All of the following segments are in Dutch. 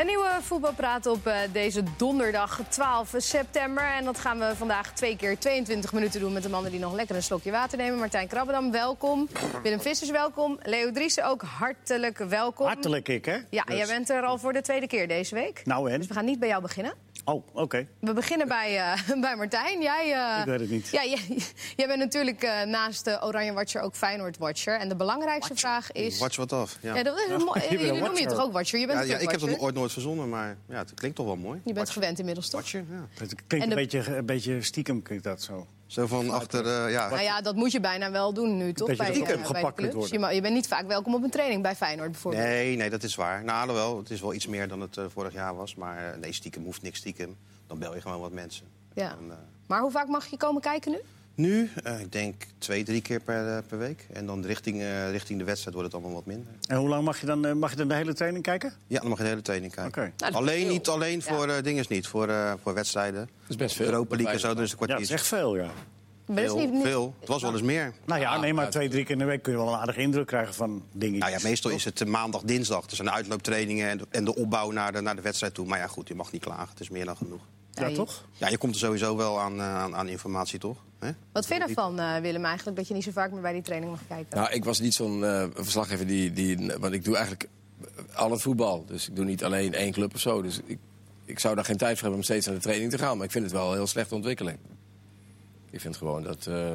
Een nieuwe voetbalpraat op eh, deze donderdag 12 september. En dat gaan we vandaag twee keer 22 minuten doen met de mannen die nog lekker een slokje water nemen. Martijn Krabbedam, welkom. Willem Vissers, welkom. Leo Driessen, ook hartelijk welkom. Hartelijk ik, hè? Ja, Dus- jij bent er al voor de tweede keer deze week. Nou en? Dus we gaan niet bij jou beginnen. Oh, oké. We beginnen bij, eh, bij Martijn. Jij, eh, Ik weet het niet. Ja, jij, jij bent natuurlijk eh, naast de Oranje Watcher ook Feyenoord Watcher. En de belangrijkste vraag is... Watch wat af. Ja. Ja, dat is een mooi- bent een Jullie noemen je watcher. toch ook Watcher? Je bent Ja, een ja, ik heb clubwatcher. dat ooit nooit verzonnen, maar ja, het klinkt toch wel mooi. Je bent gewend inmiddels, toch? Watcher, ja. Het klinkt En de- een, beetje, een beetje stiekem, klinkt dat zo. Zo van achter, eh, ja. Nou ja, dat moet je bijna wel doen nu, toch? Dat je bij, er ook eh, op bij gepakt de clubs. kunt worden. Je, ma- je bent niet vaak welkom op een training bij Feyenoord bijvoorbeeld. Nee, nee, dat is waar. Nou, alhoewel, het is wel iets meer dan het eh, vorig jaar was. Maar eh, nee, stiekem hoeft niks stiekem. Dan bel je gewoon wat mensen. Ja. En, eh, Maar hoe vaak mag je komen kijken nu? nu, eh, ik denk twee, drie keer per, eh, per week. En dan richting, eh, richting de wedstrijd wordt het allemaal wat minder. En hoe lang mag je dan, eh, mag je dan de hele training kijken? Ja, dan mag je de hele training kijken. Oké. dat is alleen veel. niet alleen Ja. voor eh dingen niet, voor, eh, voor wedstrijden. Dat is best veel. Europa League en zo, dus dan is een Ja, kwartier. dat is echt veel, ja. Maar dat is veel, niet- niet- veel. Het was wel eens meer. Nou ja, Ah, nee, maar uit- twee, drie keer in de week kun je wel een aardige indruk krijgen van dingen. Nou ja, meestal is het eh, maandag, dinsdag. Er zijn uitlooptrainingen en de, en de opbouw naar de, naar de wedstrijd toe. Maar ja, goed, je mag niet klagen. Het is meer dan genoeg. Ja, toch? Ja, je komt er sowieso wel aan, eh, aan, aan informatie, toch? Hè? Wat vind je daarvan, eh, Willem, eigenlijk? Dat je niet zo vaak meer bij die training mag kijken? Nou, ik was niet zo'n eh, verslaggever die, die. Want ik doe eigenlijk al het voetbal. Dus ik doe niet alleen één club of zo. Dus ik, ik zou daar geen tijd voor hebben om steeds naar de training te gaan. Maar ik vind het wel een heel slechte ontwikkeling. Ik vind gewoon dat. eh,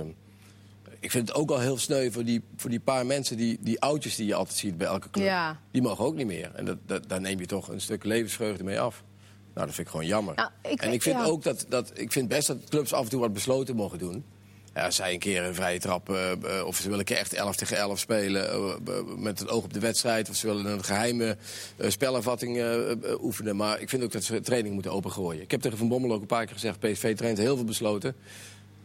ik vind het ook al heel sneu voor die, voor die paar mensen, die, die oudjes die je altijd ziet bij elke club. Ja. Die mogen ook niet meer. En dat, dat, daar neem je toch een stuk levensvreugde mee af. Nou, dat vind ik gewoon jammer. Nou, ik en weet- ik vind ja. ook dat, dat ik vind best dat clubs af en toe wat besloten mogen doen. Ja, als zij een keer een vrije trap, eh, eh, of ze willen een keer echt 11 tegen 11 spelen eh, eh, met het oog op de wedstrijd, of ze willen een geheime eh, spelervatting eh, eh, oefenen. Maar ik vind ook dat ze training moeten opengooien. Ik heb tegen Van Bommel ook een paar keer gezegd, PSV traint heel veel besloten.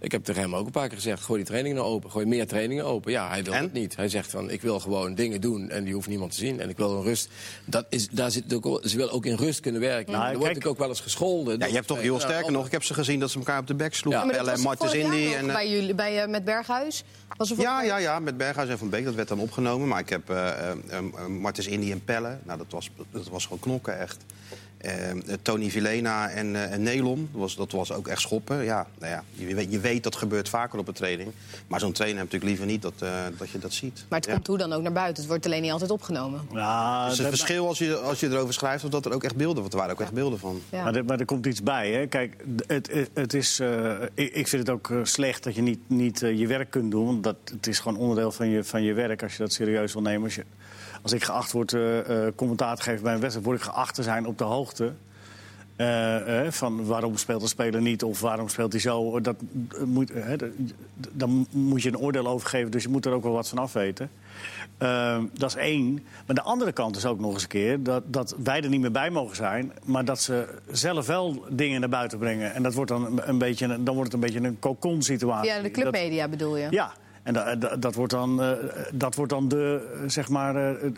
Ik heb tegen hem ook een paar keer gezegd, gooi die trainingen nou open, gooi meer trainingen open. Ja, hij wil En? het niet. Hij zegt van, ik wil gewoon dingen doen en die hoeft niemand te zien. En ik wil een rust. Dat is, daar zit ook, wel- ze wil ook in rust kunnen werken. Nou, Dan word kijk- ik ook wel eens gescholden. Ja, je hebt toch heel sterker sterker nog. Ik heb ze gezien dat ze elkaar op de bek sloegen. maar dat Ellen was en toch Martens vorig Indy. jaar nog En, eh, bij jullie, bij, eh, met Berghuis? Was er vorig ja, jaar- ja, ja, met Berghuis en Van Beek. Dat werd dan opgenomen. Maar ik heb eh eh, eh, Martens Indy en Pelle. Nou, dat was, dat was gewoon knokken, echt. Eh, eh, Tony Villena en, eh, en Nelon. Dat was, dat was ook echt schoppen. Ja, nou ja, je, weet, je weet dat gebeurt vaker op een training. Maar zo'n trainer heeft natuurlijk liever niet dat, eh, dat je dat ziet. Maar het Ja. Dus komt hoe dan ook naar buiten. Het wordt alleen niet altijd opgenomen. Ja, Het is dat- het verschil als je, als je erover schrijft, of dat er ook echt beelden, want er waren ook echt beelden van. Ja. Maar, er, maar er komt iets bij, hè? Kijk, het, het, het is, eh, ik, ik vind het ook eh, slecht dat je niet, niet eh, je werk kunt doen. Want dat, het is gewoon onderdeel van je, van je werk als je dat serieus wil nemen. Als, je, als ik geacht word eh, eh, commentaar te geven bij een wedstrijd, word ik geacht te zijn op de hoogte. eh, eh, van waarom speelt de speler niet of waarom speelt hij zo. Dat, eh, moet, eh, hè, dat- dan moet je een oordeel over geven, dus je moet er ook wel wat van afweten. Ehm, dat is één. Maar de andere kant is ook nog eens een keer dat, dat wij er niet meer bij mogen zijn, maar dat ze zelf wel dingen naar buiten brengen. En dat wordt dan een, een beetje, een- dan wordt het een beetje een cocon-situatie. Via de Dat- clubmedia bedoel je? ja, en da- da- dat, wordt dan, eh, dat wordt dan de, eh, zeg maar, eh,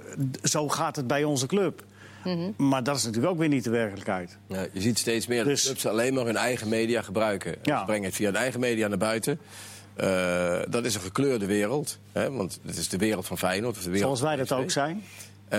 d- zo gaat het bij onze club. Mhm. Maar dat is natuurlijk ook weer niet de werkelijkheid. Ja, je ziet steeds meer dat Dus- clubs alleen maar hun eigen media gebruiken. Ja. Ze brengen het via hun eigen media naar buiten. Eh, dat is een gekleurde wereld. Hè, want het is de wereld van Feyenoord. Of de wereld Zoals wij dat van PSV. ook zijn. Nou,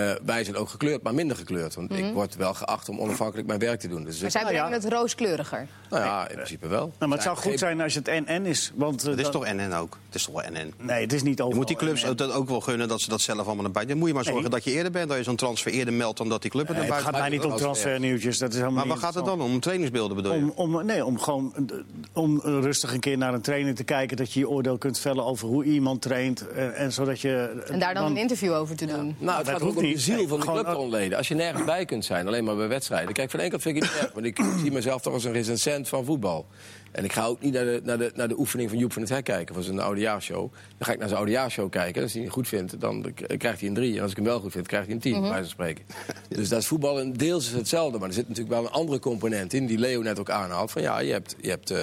Eh, wij zijn ook gekleurd, maar minder gekleurd. Want Mhm. ik word wel geacht om onafhankelijk mijn werk te doen. Dus Maar ik- zij Nou ja. brengen het rooskleuriger. nou ja, in principe wel. Nou, maar het zou Zij- goed zijn als het NN is. Want, eh, Het is dat- toch NN ook? Het is toch wel NN? Nee, het is niet Je overal. moet die clubs NN. ook- dat ook wel gunnen dat ze dat zelf allemaal naar buiten... Dan moet je maar zorgen Nee. dat je eerder bent, dat je zo'n transfer eerder meldt... dan dat die club het Nee, naar het buiten gaat mij niet om transfernieuwtjes. Dat is helemaal Maar niet waar gaat het interessant. dan om? Om Trainingsbeelden bedoel je? Om, om, nee, om gewoon eh, om rustig een keer naar een trainer te kijken. Dat je je oordeel kunt vellen over hoe iemand traint. En, en zodat je, En daar dan een interview over te doen. Nou, het dat gaat ook hoeft om de niet. ziel Nee, van de gewoon- clubontleden. Als je nergens bij kunt zijn, alleen maar bij wedstrijden. Kijk, van de ene kant vind ik het niet erg, want ik zie mezelf toch als een recensent van voetbal. En ik ga ook niet naar de, naar de, naar de oefening van Joep van het Hek kijken, van zijn oudejaarshow. Dan ga ik naar zijn oudejaarshow kijken. Als hij het goed vindt, dan k- krijgt hij een drie. En als ik hem wel goed vind, krijgt hij een tien, Mhm. bij wijze van spreken. Dus dat is voetbal en deels is hetzelfde. Maar er zit natuurlijk wel een andere component in, die Leo net ook aanhaalt. Van ja, je hebt, je hebt eh,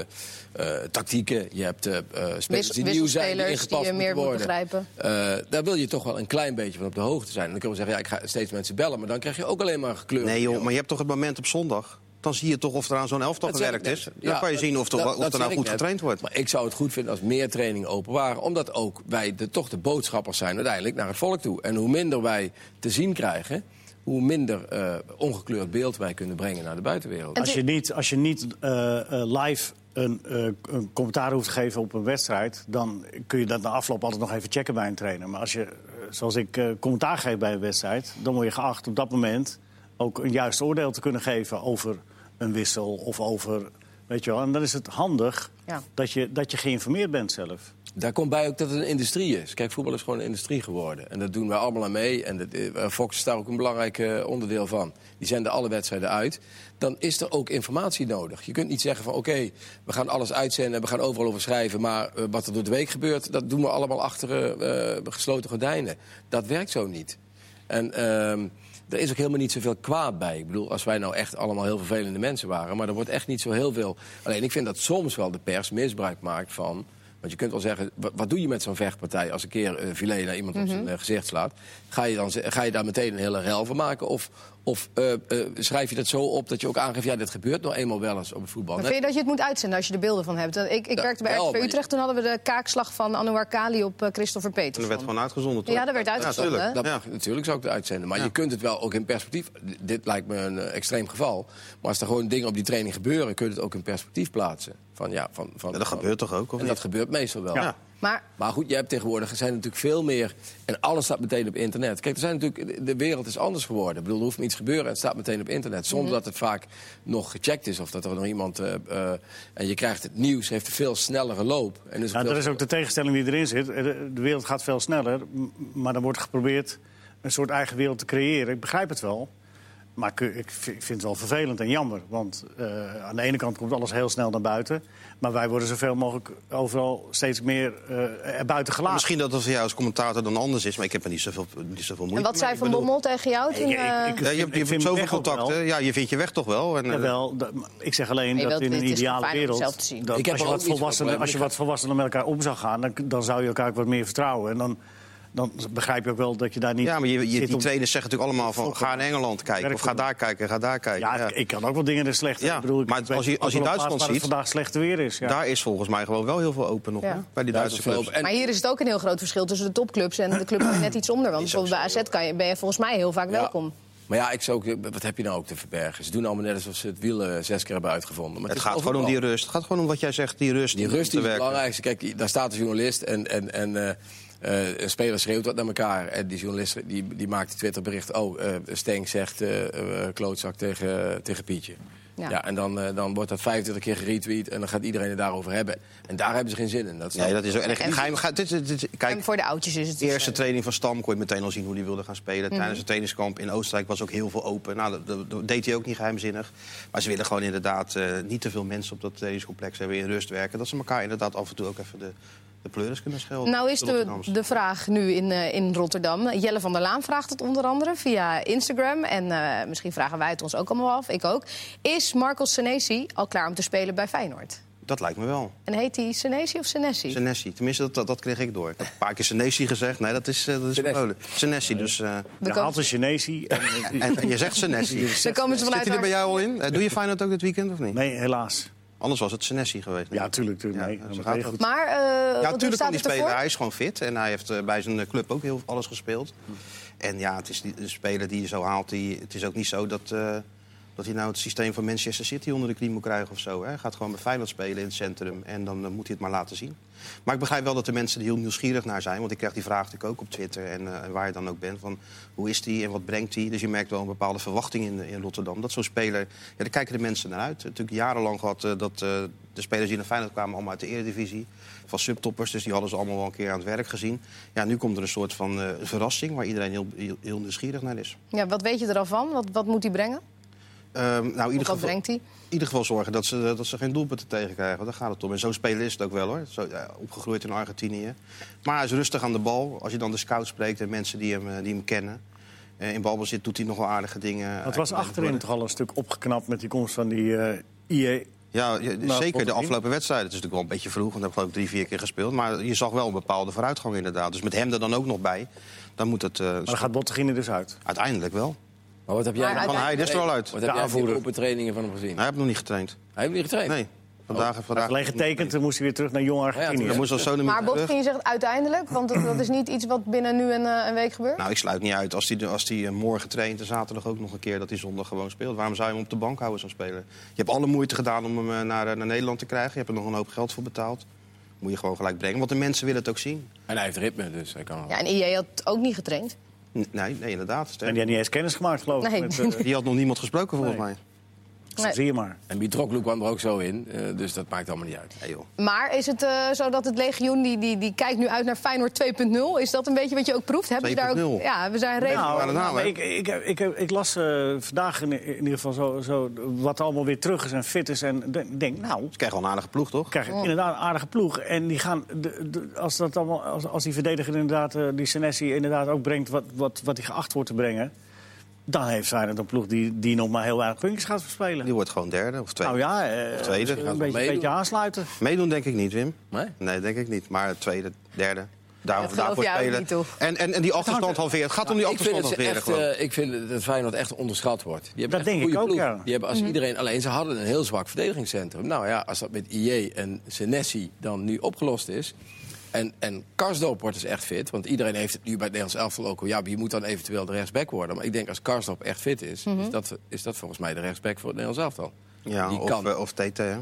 eh, tactieken, je hebt eh eh, spelers die nieuw zijn, die wisselspelers ingepast die je meer moeten moet worden. begrijpen. Eh, daar wil je toch wel een klein beetje van op de hoogte zijn. En dan kunnen we zeggen, ja, ik ga steeds mensen bellen. Maar dan krijg je ook alleen maar gekleurd. Nee joh, maar je hebt toch het moment op zondag? Dan zie je toch of er aan zo'n elftal Dat zeg ik gewerkt is. net. Dan Ja, kan je dat- zien of, er- dat- of dat er zeg nou ik goed net. getraind wordt. Maar ik zou het goed vinden als meer trainingen open waren. Omdat ook wij de, toch de boodschapper zijn uiteindelijk naar het volk toe. En hoe minder wij te zien krijgen... hoe minder eh, ongekleurd beeld wij kunnen brengen naar de buitenwereld. Als je niet, als je niet eh, eh, live een, eh, een commentaar hoeft te geven op een wedstrijd, dan kun je dat na afloop altijd nog even checken bij een trainer. Maar als je, eh, zoals ik, eh, commentaar geef bij een wedstrijd, dan word je geacht op dat moment ook een juist oordeel te kunnen geven over een wissel of over. Weet je wel, en dan is het handig Ja. dat, je, dat je geïnformeerd bent zelf. Daar komt bij ook dat het een industrie is. Kijk, voetbal is gewoon een industrie geworden. En dat doen wij allemaal aan mee. En dat, eh, Fox is daar ook een belangrijk eh, onderdeel van. Die zenden alle wedstrijden uit. Dan is er ook informatie nodig. Je kunt niet zeggen van oké, we gaan alles uitzenden... en we gaan overal over schrijven, maar eh, wat er door de week gebeurt... dat doen we allemaal achter eh, gesloten gordijnen. Dat werkt zo niet. En ehm, er is ook helemaal niet zoveel kwaad bij. Ik bedoel, als wij nou echt allemaal heel vervelende mensen waren... maar er wordt echt niet zo heel veel... Alleen ik vind dat soms wel de pers misbruik maakt van... Want je kunt wel zeggen, wat, wat doe je met zo'n vechtpartij... als een keer eh filet naar iemand op zijn eh, gezicht slaat? Ga je, dan, ze- ga je daar meteen een hele rel van maken? Of, of eh, eh, schrijf je dat zo op dat je ook aangeeft... ja, dit gebeurt nou eenmaal wel eens op het voetbal. Maar Net- vind je dat je het moet uitzenden als je er beelden van hebt? Want Ik, ik Ja, werkte bij wel, RTV maar je- Utrecht, toen hadden we de kaakslag van Anouar Kali op eh, Christopher En er werd Peters. gewoon uitgezonden, toch? Ja, dat werd uitgezonden. tuurlijk. Dat, Ja. Natuurlijk zou ik het uitzenden. Maar je kunt het wel ook in perspectief. D- Dit lijkt me een eh, extreem geval. Maar als er gewoon dingen op die training gebeuren, kun je het ook in perspectief plaatsen. Van, ja, van, van, Ja, dat van- gebeurt toch ook, of En dat niet? gebeurt meestal wel. Ja. Maar Maar goed, je hebt tegenwoordig zijn er natuurlijk veel meer. En alles staat meteen op internet. Kijk, er zijn natuurlijk, de wereld is anders geworden. Ik bedoel, er hoeft me iets gebeuren en het staat meteen op internet. Zonder Mhm. dat het vaak nog gecheckt is of dat er nog iemand. eh, eh, en je krijgt het nieuws, heeft een veel snellere loop. En is ook Nou, veel- dat is ook de tegenstelling die erin zit. Eh, De de wereld gaat veel sneller, m- maar dan wordt geprobeerd een soort eigen wereld te creëren. Ik begrijp het wel, maar ik- ik v- ik vind het wel vervelend en jammer. Want eh, aan de ene kant komt alles heel snel naar buiten, maar wij worden zoveel mogelijk overal steeds meer eh erbuiten gelaten. Misschien dat het voor jou als commentator dan anders is, maar ik heb er niet zoveel, niet zoveel moeite en wat zei mee. Van Ik bedoel, Bommel tegen jou toen? Ik- ik- eh, ik- ja, je hebt, je Ik vind hebt hem zoveel echt ook wel. contacten. Ja, je vindt je weg toch wel. En, eh, Jawel, dat- maar ik zeg alleen Nee, dat wel, in een het is gewoon ideale fijn om wereld. zelf te zien. dat Ik heb als je er wat ook niet volwassener, zoveel als je wat problemen. volwassener met elkaar om zou gaan, dan, dan zou je elkaar ook wat meer vertrouwen. En dan, dan begrijp je ook wel dat je daar niet. ja, maar je, je, zit die om- trainers zeggen natuurlijk allemaal van... ga in Engeland kijken, of ga daar kijken, ga daar kijken. Ja, Ja. ik- ik kan ook wel dingen er slecht. Ja, ik bedoel, ik maar als je- weet als je ook wel een Duitsland plaats waar ziet- het vandaag slecht weer is. Ja. Daar is volgens mij gewoon wel heel veel open nog, Ja. hè, bij die Ja, dat Duitse is veel- clubs. en- Maar hier is het ook een heel groot verschil tussen de topclubs en de clubs die net iets onder. Want bijvoorbeeld bij AZ kan je, ben je volgens mij heel vaak welkom. Maar ja, ik zou ook, wat heb je nou ook te verbergen? Ze doen allemaal net alsof ze het wiel eh, zes keer hebben uitgevonden. Maar Het is gaat gewoon om overal. die rust. Het gaat gewoon om wat jij zegt, die rust. Die om rust te die is het werken. belangrijkste. Kijk, die- daar staat de journalist en, en, en eh, eh, een speler schreeuwt wat naar elkaar. En die journalist die, die maakt een Twitterbericht. Oh, eh Stenk zegt eh, eh, klootzak tegen, tegen Pietje. Ja. Ja. en dan, eh, dan wordt dat 25 keer geretweet en dan gaat iedereen het daarover hebben. En daar hebben ze geen zin in. Dat is Nee, dat is ook erg. En- Geheim, ga, dit, dit, dit- kijk, En voor de oudjes is het de eerste dus, eh, training van Stam kon je meteen al zien hoe die wilde gaan spelen. Mhm. Tijdens het trainingskamp in Oostenrijk was ook heel veel open. Nou, dat, dat- dat deed hij ook niet geheimzinnig. Maar ze willen gewoon inderdaad eh, niet te veel mensen op dat trainingscomplex hebben in rust werken. Dat ze elkaar inderdaad af en toe ook even de, de pleuris kunnen schelden. Nou is de, Rotterdams. de vraag nu in, eh, in Rotterdam. Jelle van der Laan vraagt het onder andere via Instagram. En eh, misschien vragen wij het ons ook allemaal af, ik ook. Is Marcos Senesi al klaar om te spelen bij Feyenoord? Dat lijkt me wel. En heet hij Senesi of Senesi? Senesi. Tenminste, dat, dat, dat kreeg ik door. Ik heb een paar keer Senesi gezegd. Nee, dat is, eh, dat is Senesi. Polen. Senesi, dus... eh, Je komen- haalt een Chinesie. en- en, en je zegt Senesi. Dan komen ze Zit vanuit hij er bij haar- jou al in? Eh, Doe je Feyenoord ook dit weekend of niet? nee, helaas. Anders was het Senesi geweest. Ja, tuurlijk. tuurlijk Ja, nee, zo dat gaat weet dat. goed. Maar eh Ja, wat hoe natuurlijk staat kan het hij ervoor? spelen. Hij is gewoon fit. En hij heeft eh, bij zijn eh, club ook heel alles gespeeld. En ja, het is die, de speler die je zo haalt. Die, het is ook niet zo dat, eh, dat hij nou het systeem van Manchester City onder de knie moet krijgen of zo. Hè. Hij gaat gewoon bij Feyenoord spelen in het centrum. En dan eh, moet hij het maar laten zien. Maar ik begrijp wel dat de mensen er heel nieuwsgierig naar zijn. Want ik krijg die vraag natuurlijk ook op Twitter. En eh, waar je dan ook bent. Van hoe is die en wat brengt hij? Dus je merkt wel een bepaalde verwachting in, in Rotterdam. Dat zo'n speler. Ja, daar kijken de mensen naar uit. Natuurlijk jarenlang gehad eh, dat eh, de spelers die naar Feyenoord kwamen. allemaal uit de Eredivisie van subtoppers. Dus die hadden ze allemaal wel een keer aan het werk gezien. Ja, nu komt er een soort van eh, verrassing waar iedereen heel, heel, heel nieuwsgierig naar is. Ja, wat weet je er al van? Wat, wat moet hij brengen? Ehm, nou, Of in ieder wat geval, in brengt hij? ieder geval zorgen dat ze, dat ze geen doelpunten tegenkrijgen. want Daar gaat het om. En zo'n speler is het ook wel hoor. Zo, ja, opgegroeid in Argentinië. Maar hij is rustig aan de bal. Als je dan de scout spreekt en mensen die hem, eh, die hem kennen. eh, in balbezit doet hij nog wel aardige dingen. Eh, Het was achterin toch al een stuk opgeknapt met die komst van die eh IE. Ja, Nou, ja, zeker de Botteguin. afgelopen wedstrijden. Het is natuurlijk wel een beetje vroeg, want hij heeft geloof ik drie, vier keer gespeeld. Maar je zag wel een bepaalde vooruitgang inderdaad. Dus met hem er dan ook nog bij, dan moet het... eh, Maar dan gaat Bottegien er dus uit. Uiteindelijk wel. Maar wat heb jij Maar nou- hij- Van Heijden is er al uit. Wat Hij heb jij aanvoerder. op trainingen van hem gezien? heeft nog niet getraind. Hij heeft niet getraind. Nee. Oh, Vandaag en vandaag. Alleen getekend, dan moest hij weer terug naar Jong Argentinië. Ja, Dan moest Osone Maar weer terug. Botkin zegt uiteindelijk, want dat, dat is niet iets wat binnen nu een, eh, een week gebeurt. Nou, ik sluit niet uit. Als hij als die eh, morgen traint en zaterdag ook nog een keer... dat hij zondag gewoon speelt. Waarom zou je hem op de bank houden, zo'n speler? Je hebt alle moeite gedaan om hem eh, naar, eh, naar Nederland te krijgen. Je hebt er nog een hoop geld voor betaald. Moet je gewoon gelijk brengen, want de mensen willen het ook zien. En hij heeft ritme, dus hij kan... Ja, en IJ had ook niet getraind. N- Nee, nee inderdaad. En Sterk. die had niet eens kennis gemaakt, geloof ik. Nee. Met, eh, Die had nog niemand gesproken, volgens Nee. mij. Nee. Zie je maar. En Mitroglou kwam er ook zo in, eh, dus dat maakt allemaal niet uit. Nee, joh. Maar is het eh, zo dat het legioen, die, die, die kijkt nu uit naar Feyenoord 2.0? Is dat een beetje wat je ook proeft? Hebben ze daar ook... 2.0? Ja, we zijn redelijk... Nou, aan het halen, hè? ik, ik, ik, ik, ik las eh, vandaag in, in ieder geval zo, zo wat allemaal weer terug is en fit is. En ik denk, nou, Ze krijgen wel een aardige ploeg, toch? krijg je inderdaad een aardige ploeg. En die gaan, de, de- als, dat allemaal, als, als die verdediger inderdaad, eh, die Senesi inderdaad ook brengt wat, wat, wat hij geacht wordt te brengen... dan heeft Feyenoord een ploeg die, die nog maar heel weinig puntjes gaat verspelen. Die wordt gewoon derde of tweede. Nou ja, eh, Tweede, gaat wel een beetje, meedoen. beetje aansluiten. Meedoen denk ik niet, Wim. Nee? Nee, denk ik niet. Maar tweede, derde. Dat Daarom geloof daarvoor jij ook spelen. niet, toch? en, en, en die achterstand halveren. Het gaat om die Ik vind, achterstand dat ze halveren. echt, gewoon. eh, ik vind dat Feyenoord echt onderschat wordt. Die Dat hebben echt denk een ik goede ook, ploeg. ja. Die hebben als iedereen, alleen ze hadden een heel zwak verdedigingscentrum. Nou ja, als dat met IJ en Senesi dan nu opgelost is... En, en Karsdorp wordt dus echt fit. Want iedereen heeft het nu bij het Nederlands elftal ook. al, Ja, je moet dan eventueel de rechtsback worden. Maar ik denk als Karsdorp echt fit is... is, dat, is dat volgens mij de rechtsback voor het Nederlands elftal. ja, die of, kan. eh, of TT, hè?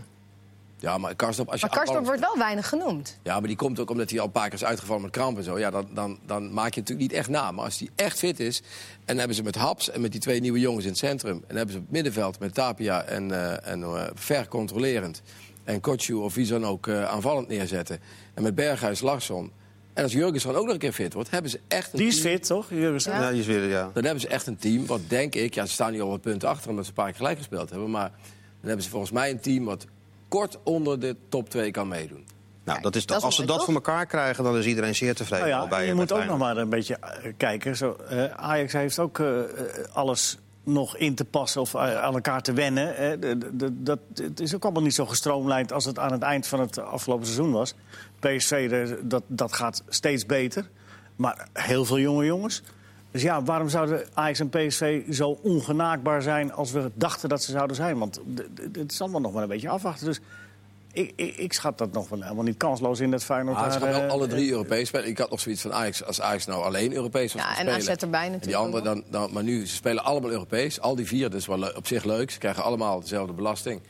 Ja, maar Karsdorp... Als je Maar Karstorp aanvallend- wordt wel weinig genoemd. Ja, maar die komt ook omdat hij al een paar keer is uitgevallen met kramp en zo. Ja, dan, dan, dan maak je het natuurlijk niet echt na. Maar als die echt fit is, en hebben ze met Haps en met die twee nieuwe jongens in het centrum... en hebben ze op het middenveld met Tapia en, eh en eh, ver controlerend... en Kotschu of wie dan ook eh, aanvallend neerzetten... en met Berghuis, Larsson... en als Jurgenson ook nog een keer fit wordt, hebben ze echt een Die is team- fit, toch? Jurgensen? Ja, die is weer, ja. dan hebben ze echt een team, wat denk ik... Ja, ze staan nu al wat punten achter omdat ze een paar keer gelijk gespeeld hebben... maar dan hebben ze volgens mij een team wat kort onder de top 2 kan meedoen. Nou, dat is, dat is als ze mooi, dat toch? voor elkaar krijgen, dan is iedereen zeer tevreden. Nou ja, al bij, eh, en je bij moet ook nog Feyenoord. maar een beetje eh, kijken. Zo, eh, Ajax heeft ook eh, eh, alles nog in te passen of eh, aan elkaar te wennen. hè. De- de- de- dat, het is ook allemaal niet zo gestroomlijnd als het aan het eind van het afgelopen seizoen was. PSV, de- eh, dat, dat gaat steeds beter. Maar heel veel jonge jongens. Dus ja, waarom zouden Ajax en PSV zo ongenaakbaar zijn als we dachten dat ze zouden zijn? Want d- d- het is allemaal nog maar een beetje afwachten. Dus ik, ik, ik schat dat nog wel helemaal niet kansloos in dat Feyenoord. Maar Ah, ze daar, gaan wel eh, alle drie Europees spelen. Ik had nog zoiets van Ajax, als Ajax nou alleen Europees was Ja, gaan en spelen. AZ erbij En die natuurlijk andere dan, dan, maar nu, ze spelen allemaal Europees. Al die vier, dat is wel le- op zich leuk. Ze krijgen allemaal dezelfde belasting.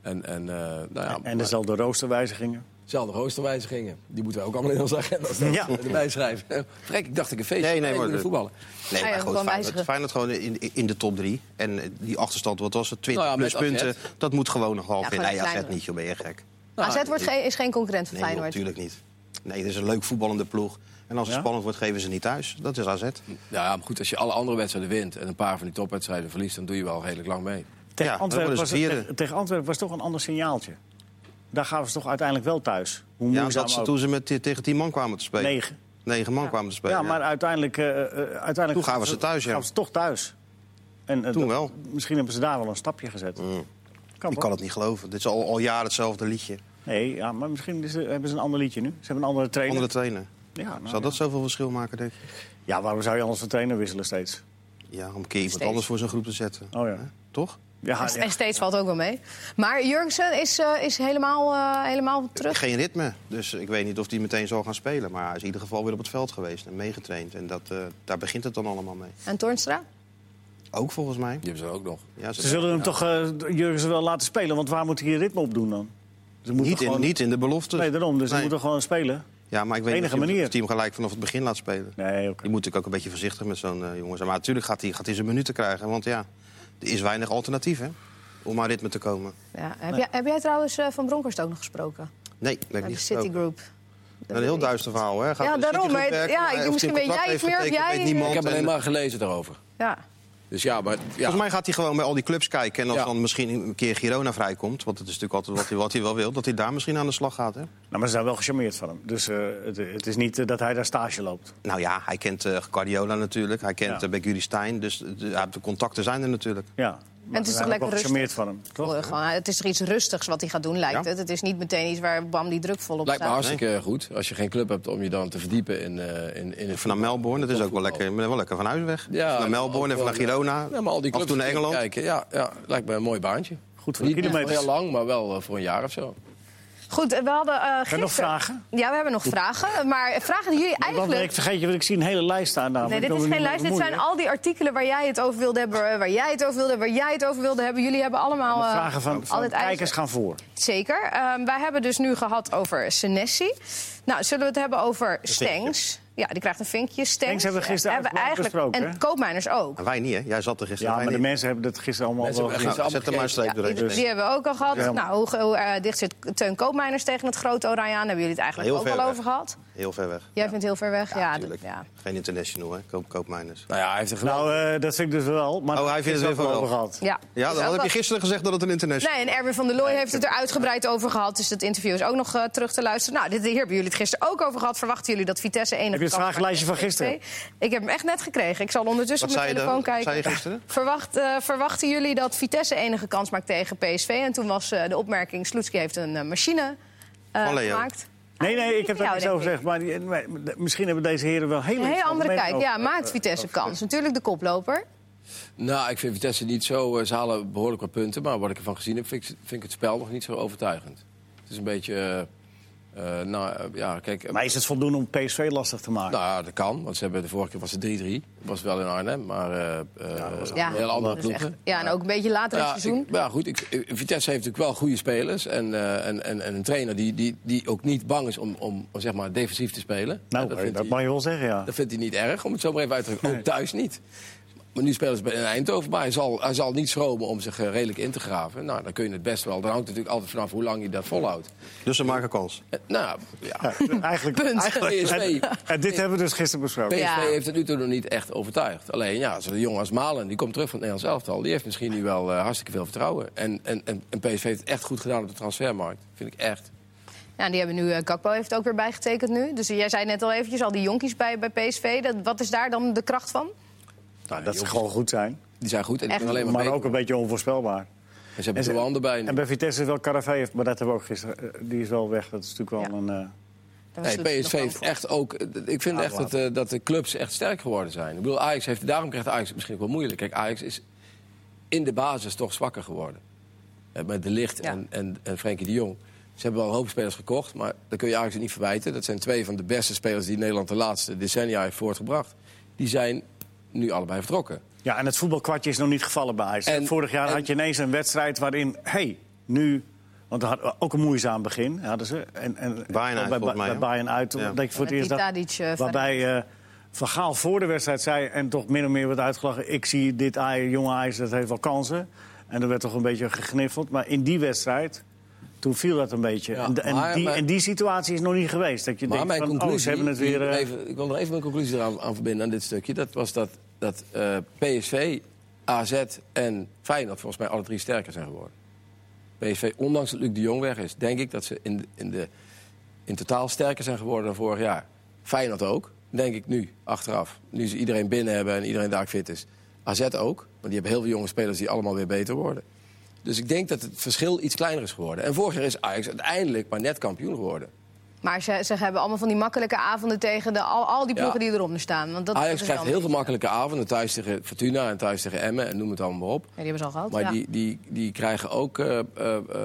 En, en, eh nou ja, En er zal de roosterwijzigingen. dezelfde roosterwijzigingen. Die moeten we ook allemaal in onze agenda staan. Ja. erbij schrijven. Vrek, ik dacht ik een feestje. Nee, nee, ik maar- wil voetballen. Nee, Ah ja, maar gewoon goed, Feyenoord, wijzigen. Feyenoord gewoon in, in de top drie. En eh, die achterstand, wat was het? 20 Nou ja, met plus punten. AZ. Dat moet gewoon nog half Ja, in. gewoon Nee, AZ kleiner. niet, joh, ben je gek. AZ wordt geen, is geen concurrent van Nou, Nee, joh, Feyenoord. natuurlijk niet. Nee, het is een leuk voetballende ploeg. En als het Ja? spannend wordt, geven ze niet thuis. Dat is AZ. Ja, maar goed, als je alle andere wedstrijden wint... en een paar van die topwedstrijden verliest... dan doe je wel redelijk lang mee. Tegen, Ja, dan Antwerpen worden was ze het, vierde. tegen, tegen Antwerpen was toch een ander signaaltje. Daar gaven ze toch uiteindelijk wel thuis. Hoe Ja, moeizaam dat ze, ook. toen ze met, tegen tien man kwamen te spelen. Negen. Negen man kwamen te spelen. Ja, maar uiteindelijk, eh, eh, uiteindelijk Toen gaven ze thuis, ja. gaven ze toch thuis. En, eh, Toen dat- wel. Mm. Misschien hebben ze daar wel een stapje gezet. Kan Ik toch? kan het niet geloven. Dit is al, al jaren hetzelfde liedje. Nee, ja, maar misschien is er- hebben ze een ander liedje nu. Ze hebben een andere trainer. Andere trainer. Ja, nou Zou ja. dat zoveel verschil maken, denk je? ja, waarom zou je anders van trainer wisselen steeds? Ja, om een keer iemand Steeds. anders voor zijn groep te zetten. Oh ja. Hè? Toch? Ja, Dus En steeds valt ook wel mee. Maar Jurgensen is, eh, is helemaal, eh, helemaal terug. Geen ritme. Dus ik weet niet of die meteen zal gaan spelen. Maar hij is in ieder geval weer op het veld geweest en meegetraind. En dat, eh, daar begint het dan allemaal mee. En Toornstra? Ook volgens mij. Die hebben ze ook nog. Ja, ze- ze zullen hem toch eh Jurgensen wel laten spelen. Want waar moet hij ritme op doen dan? Ze moeten niet, gewoon- in, niet in de belofte. Nee, daarom. Dus ze Nee. moeten gewoon spelen. Ja, maar ik weet niet enige of je manier. het team gelijk vanaf het begin laat spelen. Nee, oké. Je moet natuurlijk ook een beetje voorzichtig met zo'n eh, jongen zijn. Maar natuurlijk gaat hij gaat hij zijn minuten krijgen. Want ja, er is weinig alternatief hè, om aan ritme te komen. Ja. Heb, jij, heb jij trouwens eh, Van Bronkhorst ook nog gesproken? Nee, dat ben ik Bij de niet City gesproken. Group. Een heel duister verhaal, hè? Gaat Ja, bij de daarom, Citigroep maar- werken, ja, maar ik- of hij misschien een weet contract jij het heeft meer of getekend, jij- weet niemand. Ik heb En- alleen maar gelezen daarover. Ja. Dus ja, maar... Ja. Volgens mij gaat hij gewoon bij al die clubs kijken. En als Ja. dan misschien een keer Girona vrijkomt... want dat is natuurlijk altijd wat hij, wat hij wel wil... dat hij daar misschien aan de slag gaat. Hè? Nou, maar ze zijn wel gecharmeerd van hem. Dus eh, het, het is niet eh, dat hij daar stage loopt. Nou ja, hij kent eh Guardiola natuurlijk. Hij kent Ja. eh, Beguri Stein. Dus eh, de, ja, de contacten zijn er natuurlijk. Ja. Maar het is ze toch zijn ook lekker wel gecharmeerd van hem, toch? Gewoon, eh, het is toch iets rustigs wat hij gaat doen, lijkt Ja. het. Het is niet meteen iets waar Bam die druk volop Lijkt me staat. hartstikke goed als je geen club hebt om je dan te verdiepen in, eh, in, in het Van naar Melbourne, dat is ook wel lekker, maar wel lekker van huis weg. Dus naar en Melbourne ook en van wel, naar Girona. Ja, maar al die af en clubs toe naar die Engeland. Kijken, ja, ja, lijkt me een mooi baantje. Goed voor de Niet, niet voor kilometers. heel lang, maar wel eh, voor een jaar of zo. Goed, eh, we hadden eh Heb gisteren... je nog vragen? Ja, we hebben nog vragen. Maar vragen die jullie Want eigenlijk... ik vergeet je, want ik zie een hele lijst staan. Nee, namelijk. dit Ik is wil me geen niet lijst. Dit bemoeien, zijn hè. al die artikelen waar jij het over wilde hebben, eh, waar jij het over wilde hebben, waar jij het over wilde hebben. Jullie hebben allemaal De eh, vragen al van, van dit ijzer. kijkers gaan voor. Zeker. Ehm, wij hebben dus nu gehad over Senesi. Nou, zullen we het hebben over Stengs? Ja, die krijgt een vinkje. Stengs Stengs hebben we gisteren hebben uitgebreid eigenlijk besproken, En hè? koopmijners ook. En wij niet, hè? Jij zat er gisteren. Ja, wij maar de niet. mensen hebben dat gisteren allemaal Mensen wel hebben gezien. gisteren Nou, zet er maar een streep Ja, die, doorheen. die hebben we ook al gehad. Ja. Nou, hoe, hoe eh, dicht zit Teun Koopmijners tegen het grote Oranje aan? Hebben jullie het eigenlijk Heel ook ver al weg. over gehad? Heel ver weg. Jij vindt heel ver weg? Ja, dat- natuurlijk. ja. Geen international, hè? Koop, koopmijners. Nou ja, hij heeft een geweldig... Nou, eh, dat vind ik dus wel. Maar Oh, hij vindt het gisteren hebben weer we wel. over gehad. Ja, Ja, Is dan ook heb wel- je gisteren gezegd dat het een international Nee, en Erwin van der Looy heeft het er uitgebreid over gehad. Dus dat interview is ook nog eh, terug te luisteren. Nou, dit, hier hebben jullie het gisteren ook over gehad. Verwachten jullie dat Vitesse één Heb je het vragenlijstje van gisteren? Ik heb hem echt net gekregen. Ik zal ondertussen Wat op mijn zei je telefoon dan? Wat kijken. zei je gisteren? Verwacht, eh, verwachten jullie dat Vitesse enige kans maakt tegen PSV? En toen was eh, de opmerking, Sloetski heeft een eh, machine eh, Van Leo. gemaakt. Nee, nee, ik Van heb daar jou, niks denk ik. over gezegd. Maar die- maar de- misschien hebben deze heren wel hele Een hele andere mening kijk. over. Ja, maakt Vitesse kans. Natuurlijk de koploper. Nou, ik vind Vitesse niet zo... eh, Ze halen behoorlijk wat punten, maar wat ik ervan gezien heb... vind ik, vind ik het spel nog niet zo overtuigend. Het is een beetje... eh, eh, nou, eh, ja, kijk... eh, Maar is het voldoende om PSV lastig te maken? Nou ja, dat kan, want ze hebben de vorige keer was het 3-3. Dat was wel in Arnhem, maar eh, eh, Ja, heel andere dat is echt- ploegen. ja, en ook een beetje later in het seizoen. ik- nou ja, goed. Ik, ik- Vitesse heeft natuurlijk wel goede spelers. En, eh, en, en, en een trainer die, die, die ook niet bang is om, om zeg maar, defensief te spelen. nou, Eh, dat, vindt mag hij, je wel zeggen, ja. dat vindt hij niet erg, om het zo maar even uit te drukken. Ook thuis niet. Maar nu spelen ze bij- in Eindhoven, maar hij zal, hij zal niet schromen om zich eh, redelijk in te graven. Nou, dan kun je het best wel. Dan hangt het natuurlijk altijd vanaf hoe lang je dat volhoudt. Dus ze maken kans. Eh, nou, ja. Ja, eigenlijk, Punt. eigenlijk- PSV. en- en dit hebben we dus gisteren besproken. PSV Ja. heeft het nu toe nog niet echt overtuigd. Alleen ja, zo'n jongen als Malen, die komt terug van het Nederlands elftal... die heeft misschien nu wel eh, hartstikke veel vertrouwen. En, en, en, en PSV heeft het echt goed gedaan op de transfermarkt. Vind ik echt. nou, Ja, die hebben nu, eh, Gakpo heeft ook weer bijgetekend nu. Dus jij zei net al eventjes, al die jonkies bij, bij PSV. Dat, wat is daar dan de kracht van? Nou, dat ze gewoon goed zijn. Die zijn goed en die Echt. kunnen alleen maar, Maar beter ook een beetje onvoorspelbaar. worden. En ze hebben en ze- de handen bij nu. En bij Vitesse is wel Caravé, maar dat hebben we ook gisteren. eh, Die is wel weg. Dat is natuurlijk wel Ja. een. eh, Daar was Nee, Sloetski nog Nou, PSV bang heeft voor. echt ook... Ik vind echt dat, eh, dat de clubs echt sterk geworden zijn. Ik bedoel, Ajax heeft, daarom krijgt Ajax het misschien ook wel moeilijk. Kijk, Ajax is in de basis toch zwakker geworden. Eh, Met De Licht Ja. en, en, en Frenkie de Jong. Ze hebben wel een hoop spelers gekocht, maar dat kun je Ajax niet verwijten. Dat zijn twee van de beste spelers die Nederland de laatste decennia heeft voortgebracht. Die zijn nu allebei vertrokken. Ja, en het voetbalkwartje is nog niet gevallen bij Ajax. En- Vorig jaar en- had je ineens een wedstrijd waarin, hé, hey, nu... Want er had ook een moeizaam begin hadden ze. En, en, Bayern uit, bij, volgens mij, bij hè? Bayern uit, Ja. dat je voor Met het eerst die dacht- Tadic, eh, waarbij eh Van Gaal voor de wedstrijd zei... en toch min of meer werd uitgelachen... ik zie dit Ajax, jonge Ajax, dat heeft wel kansen. En er werd toch een beetje gegniffeld. Maar in die wedstrijd, toen viel dat een beetje. Ja, en, de- en maar- die, maar- en die situatie is nog niet geweest. Dat je Maar denkt, mijn van, conclusie, oh, ze hebben het weer... die- eh, even, ik wil nog even mijn conclusie eraan aan verbinden aan dit stukje. Dat was dat, dat eh, PSV, AZ en Feyenoord volgens mij alle drie sterker zijn geworden. PSV, ondanks dat Luc de Jong weg is, denk ik dat ze in, de- in, de, in totaal sterker zijn geworden dan vorig jaar. Feyenoord ook, denk ik nu, achteraf. Nu ze iedereen binnen hebben en iedereen daar fit is. AZ ook, want die hebben heel veel jonge spelers die allemaal weer beter worden. Dus ik denk dat het verschil iets kleiner is geworden. En vorig jaar is Ajax uiteindelijk maar net kampioen geworden. Maar ze, ze hebben allemaal van die makkelijke avonden tegen de, al, al die ploegen die eronder staan. Want dat, dat Ajax is dus krijgt dan- heel veel makkelijke avonden. Thuis tegen Fortuna en thuis tegen Emmen en noem het allemaal maar op. Ja, die hebben ze al gehad. Maar ja. die, die, die krijgen ook eh, eh, eh,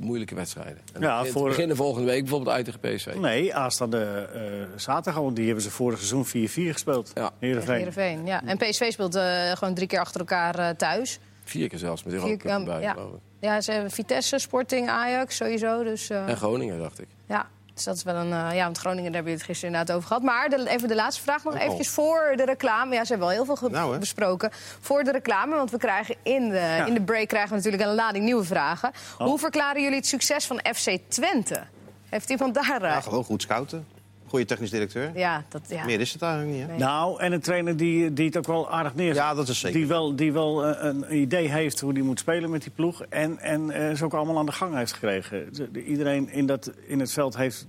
moeilijke wedstrijden. En Ja, begin- voor- Beginnen volgende week bijvoorbeeld uit tegen Hm. PSV. Nee, aanstaande eh zaterdag, want die hebben ze vorig seizoen 4-4 gespeeld. Ja. Tegen Heerenveen. Heerenveen, ja. En PSV speelt eh, gewoon drie keer achter elkaar eh, thuis. Vier keer zelfs met Europa Vier- Cup ja, erbij, ja. geloof ik. Ja, ze hebben Vitesse, Sporting, Ajax sowieso. Dus, eh, En Groningen, dacht ik. Ja, dus dat is wel een. eh, ja, want Groningen, daar hebben we het gisteren inderdaad over gehad. Maar de, even de laatste vraag nog Oh. eventjes voor de reclame. Ja, ze hebben al heel veel ge- Nou, hè. besproken. Voor de reclame, want we krijgen in de, in de break krijgen we natuurlijk een lading nieuwe vragen. Oh. Hoe verklaren jullie het succes van FC Twente? Heeft iemand daar. eh, Ja, gewoon goed scouten. Goede technisch directeur. ja, dat. Ja. Meer is het eigenlijk niet, hè? Nou, en een trainer die, die het ook wel aardig neerzet. Ja, dat is zeker. Die wel, die wel eh, een idee heeft hoe die moet spelen met die ploeg. En, en eh, ze ook allemaal aan de gang heeft gekregen. De- de- iedereen in, dat, in het veld heeft,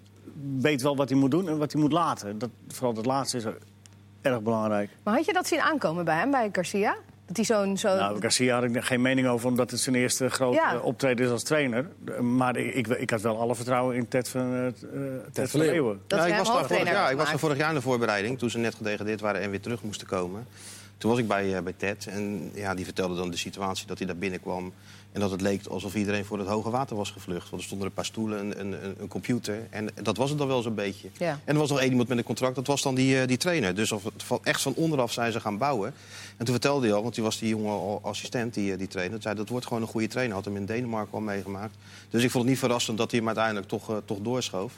weet wel wat hij moet doen en wat hij moet laten. Dat, vooral dat laatste is erg belangrijk. Maar had je dat zien aankomen bij hem, bij Garcia? Dat hij zo'n. Zo Nou, Garcia had ik geen mening over, omdat het zijn eerste grote Oh. Ja. eh, optreden is als trainer. Eh, Maar ik, ik, ik had wel alle vertrouwen in Ted van, eh, eh, Ted van Leeuwen. Leeuwen. dat ze hem Ja, nou, ik was daar vorig hoofdtrainer jaar, ik was daar maken. vorig jaar in de voorbereiding, toen ze net gedegradeerd waren en weer terug moesten komen. Toen was ik bij, eh, bij Ted en ja, die vertelde dan de situatie dat hij daar binnenkwam. En dat het leek alsof iedereen voor het hoge water was gevlucht. Want er stonden een paar stoelen, een, een, een- een computer. En dat was het dan wel zo'n beetje. Ja. En er was nog één iemand met een contract, dat was dan die, eh, die trainer. Dus of- van, echt van onderaf zijn ze gaan bouwen. En toen vertelde hij al, want die was die jonge al- assistent, die, eh, die trainer. Toen zei, dat wordt gewoon een goede trainer. Had hem in Denemarken al meegemaakt. Dus ik vond het niet verrassend dat hij hem uiteindelijk toch, eh, toch doorschoof.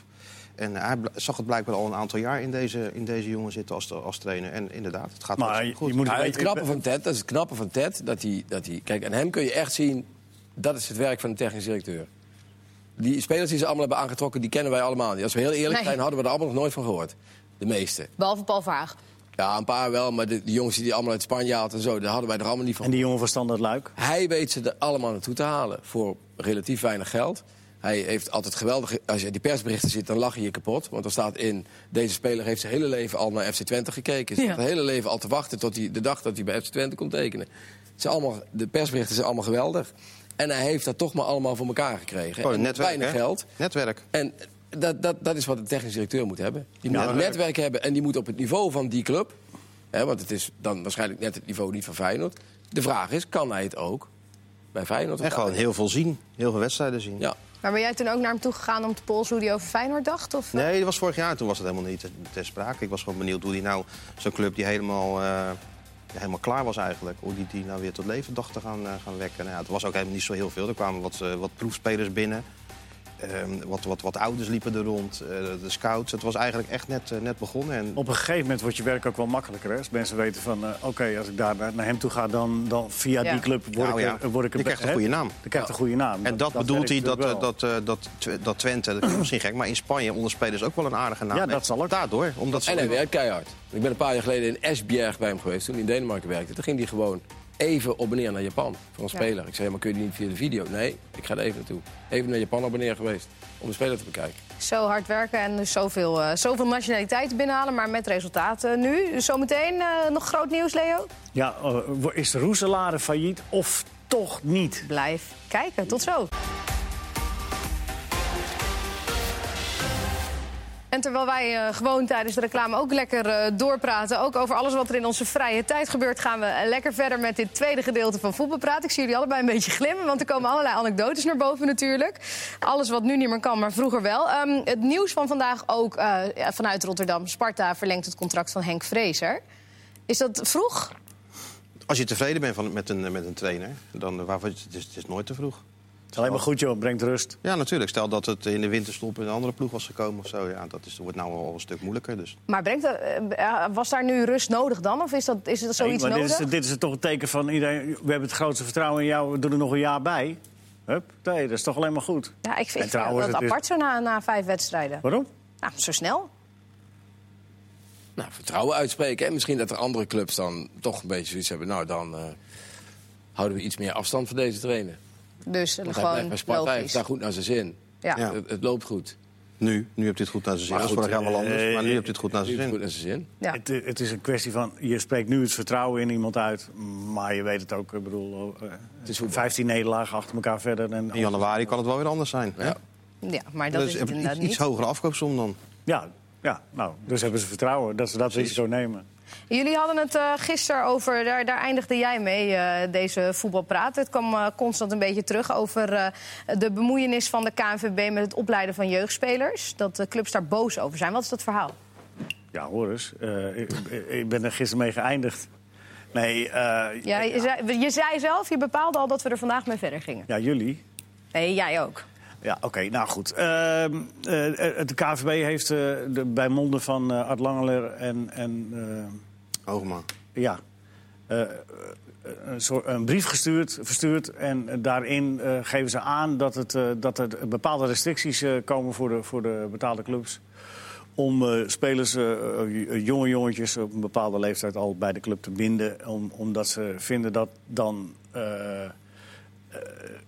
En eh, hij bl- zag het blijkbaar al een aantal jaar in deze, in deze jongen zitten als, als trainer. En inderdaad, het gaat Maar je, hartstikke goed. je moet Ja, weten- het knappe van Ted, dat is het knappe van Ted, dat hij, dat hij... Kijk, aan hem kun je echt zien, dat is het werk van de technisch directeur. Die spelers die ze allemaal hebben aangetrokken, die kennen wij allemaal niet. Als we heel eerlijk Nee. zijn, hadden we er allemaal nog nooit van gehoord. De meeste. Behalve Paul Vaag. Ja, een paar wel, maar de, de jongens die die allemaal uit Spanje haalt en zo... daar hadden wij er allemaal niet van En die jongen van Standard Luik. Hij weet ze er allemaal naartoe te halen voor relatief weinig geld. Hij heeft altijd geweldig. Als je die persberichten ziet, dan lach je je kapot. Want er staat in: deze speler heeft zijn hele leven al naar FC Twente gekeken. Hij Ja. zit zijn hele leven al te wachten tot hij, de dag dat hij bij FC Twente komt tekenen. Het zijn allemaal, de persberichten zijn allemaal geweldig. En hij heeft dat toch maar allemaal voor elkaar gekregen. Gewoon En Oh, een netwerk, weinig hè? geld. Netwerk. En dat, dat, dat is wat de technisch directeur moet hebben. Die moet een netwerk hebben en die moet op het niveau van die club... Hè, want het is dan waarschijnlijk net het niveau niet van Feyenoord. De vraag is, kan hij het ook bij Feyenoord? En gewoon heel veel zien. Heel veel wedstrijden zien. Ja. Maar ben jij toen ook naar hem toe gegaan om te polsen hoe hij over Feyenoord dacht? Of? eh? Nee, dat was vorig jaar. Toen was het helemaal niet ter, ter sprake. Ik was gewoon benieuwd hoe die nou zo'n club die helemaal, eh, die helemaal klaar was eigenlijk... hoe die die nou weer tot leven dacht te gaan, eh, gaan wekken. Nou, ja, het was ook helemaal niet zo heel veel. Er kwamen wat, eh, wat proefspelers binnen. Ehm, wat, wat, wat ouders liepen er rond. eh, de scouts. Het was eigenlijk echt net, eh, net begonnen. En Op een gegeven moment wordt je werk ook wel makkelijker. Hè? Als mensen weten van, eh, oké, als ik daar naar naar hem toe ga... dan, dan via Ja. die club word Nou ik, ja, er- eh, word ik je krijgt een hè? goede naam. Je krijgt een goede naam. En dat, werkt bedoelt hij dat, eh, natuurlijk wel. dat, eh, dat, Tw- dat Twente, dat is misschien gek, maar in Spanje onder spelers ook wel een aardige naam. Ja, heeft. dat zal ook. Daardoor, omdat ze... En hij werkt keihard. Ik ben een paar jaar geleden in Esbjerg bij hem geweest, toen hij in Denemarken werkte. Toen ging hij gewoon even op en neer naar Japan voor een Ja. speler. Ik zei, maar kun je die niet via de video? Nee, ik ga er even naartoe. Even naar Japan op en neer geweest om de speler te bekijken. Zo hard werken en dus zoveel, eh, zoveel nationaliteiten binnenhalen, maar met resultaten nu. Dus Zometeen eh, nog groot nieuws, Leo. Ja, eh, wo- is Roeselare failliet of toch niet? Blijf kijken. Tot zo. En terwijl wij eh, gewoon tijdens de reclame ook lekker eh, doorpraten... ook over alles wat er in onze vrije tijd gebeurt... gaan we eh, lekker verder met dit tweede gedeelte van Voetbalpraat. Ik zie jullie allebei een beetje glimmen, want er komen allerlei anekdotes naar boven natuurlijk. Alles wat nu niet meer kan, maar vroeger wel. Ehm, het nieuws van vandaag ook eh, ja, vanuit Rotterdam. Sparta verlengt het contract van Henk Vrezer. Is dat vroeg? Als je tevreden bent van, met, een, met een trainer, dan eh, waarvoor, het, is, het is nooit te vroeg. Het is alleen maar goed, joh. Brengt rust. Ja, natuurlijk. Stel dat het in de winterstop in een andere ploeg was gekomen of zo. Ja, dat is, wordt nou al een stuk moeilijker. Dus. Maar brengt dat, eh, eh, was daar nu rust nodig dan? Of is dat, is dat zoiets Nee, maar nodig? Dit is, dit is toch een teken van iedereen... We hebben het grootste vertrouwen in jou. We doen er nog een jaar bij. Hup. Nee, dat is toch alleen maar goed. Ja, ik vind En ik vind trouwens, dat het is- apart zo na, na vijf wedstrijden. Waarom? Nou, zo snel. Nou, vertrouwen uitspreken. En misschien dat er andere clubs dan toch een beetje zoiets hebben. Nou, dan eh, houden we iets meer afstand van deze trainer. Dus eh, Want hij blijft bij gewoon Sparta, hij heeft logisch. daar goed naar zijn zin. Ja. Ja. Het, het loopt goed. Nu, nu heb je het goed naar zijn zin. Maar Dat was goed, vorig jaar wel anders, eh, maar nu heb je het goed naar Het zijn loopt goed zin. naar zijn zin. Ja. Het, het is een kwestie van, je spreekt nu het vertrouwen in iemand uit, maar je weet het ook. Ik bedoel, eh, het is 15 nederlagen achter elkaar verder. En, In januari kan het wel weer anders zijn. Ja. ja, maar dat Dus is het een inderdaad iets, iets niet. hogere afkoopsom dan. ja, ja, nou, dus hebben ze vertrouwen dat ze dat risico nemen. Jullie hadden het eh gisteren over, daar, daar eindigde jij mee, eh, deze voetbalpraat. Het kwam eh, constant een beetje terug over eh, de bemoeienis van de KNVB... met het opleiden van jeugdspelers. Dat de clubs daar boos over zijn. Wat is dat verhaal? Ja, hoor eens, eh, ik, ik ben er gisteren mee geëindigd. Nee, eh, Ja, je, zei, je zei zelf, je bepaalde al dat we er vandaag mee verder gingen. ja, jullie. Nee, jij ook. Ja, oké, nou goed. Ehm, eh, eh, de KVB heeft eh, de, bij monden van eh, Art Langeler en, en eh, Hoogma. ja, eh, eh, een, soort, een brief gestuurd, verstuurd. En eh, daarin eh, geven ze aan dat, het, eh, dat er bepaalde restricties eh, komen voor de, voor de betaalde clubs. Om eh, spelers, eh, eh, jonge jongetjes op een bepaalde leeftijd al bij de club te binden. Om, omdat ze vinden dat dan eh, eh,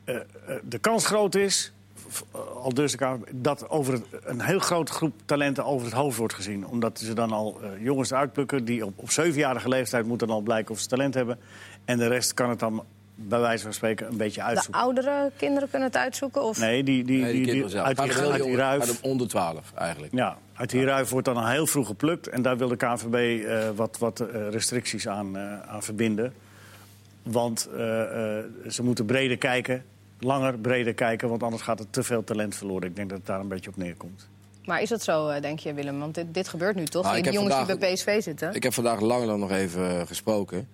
eh, eh, de kans groot is. v- Al dus de KNVB, dat over het, een heel grote groep talenten over het hoofd wordt gezien. Omdat ze dan al eh, jongens uitplukken die op, op zevenjarige leeftijd moeten dan al blijken of ze talent hebben. En de rest kan het dan bij wijze van spreken een beetje De uitzoeken. oudere kinderen kunnen het uitzoeken? Of... Nee, die, die, die, Nee, die die- kinderen zelf. uit die, Gaat om heel uit die jong, ruif. gaat om onder 12 eigenlijk. Ja, Uit die ruif wordt dan al heel vroeg geplukt. En daar wil de KNVB eh, wat, wat eh, restricties aan, eh, aan verbinden. Want eh, eh, ze moeten breder kijken, langer breder kijken. Want anders gaat er te veel talent verloren. Ik denk dat het daar een beetje op neerkomt. Maar is dat zo, eh, denk je, Willem? Want dit, dit gebeurt nu toch? Nou, ik die heb jongens die bij vandaag- PSV zitten. Ik heb vandaag Langeland nog even eh, gesproken.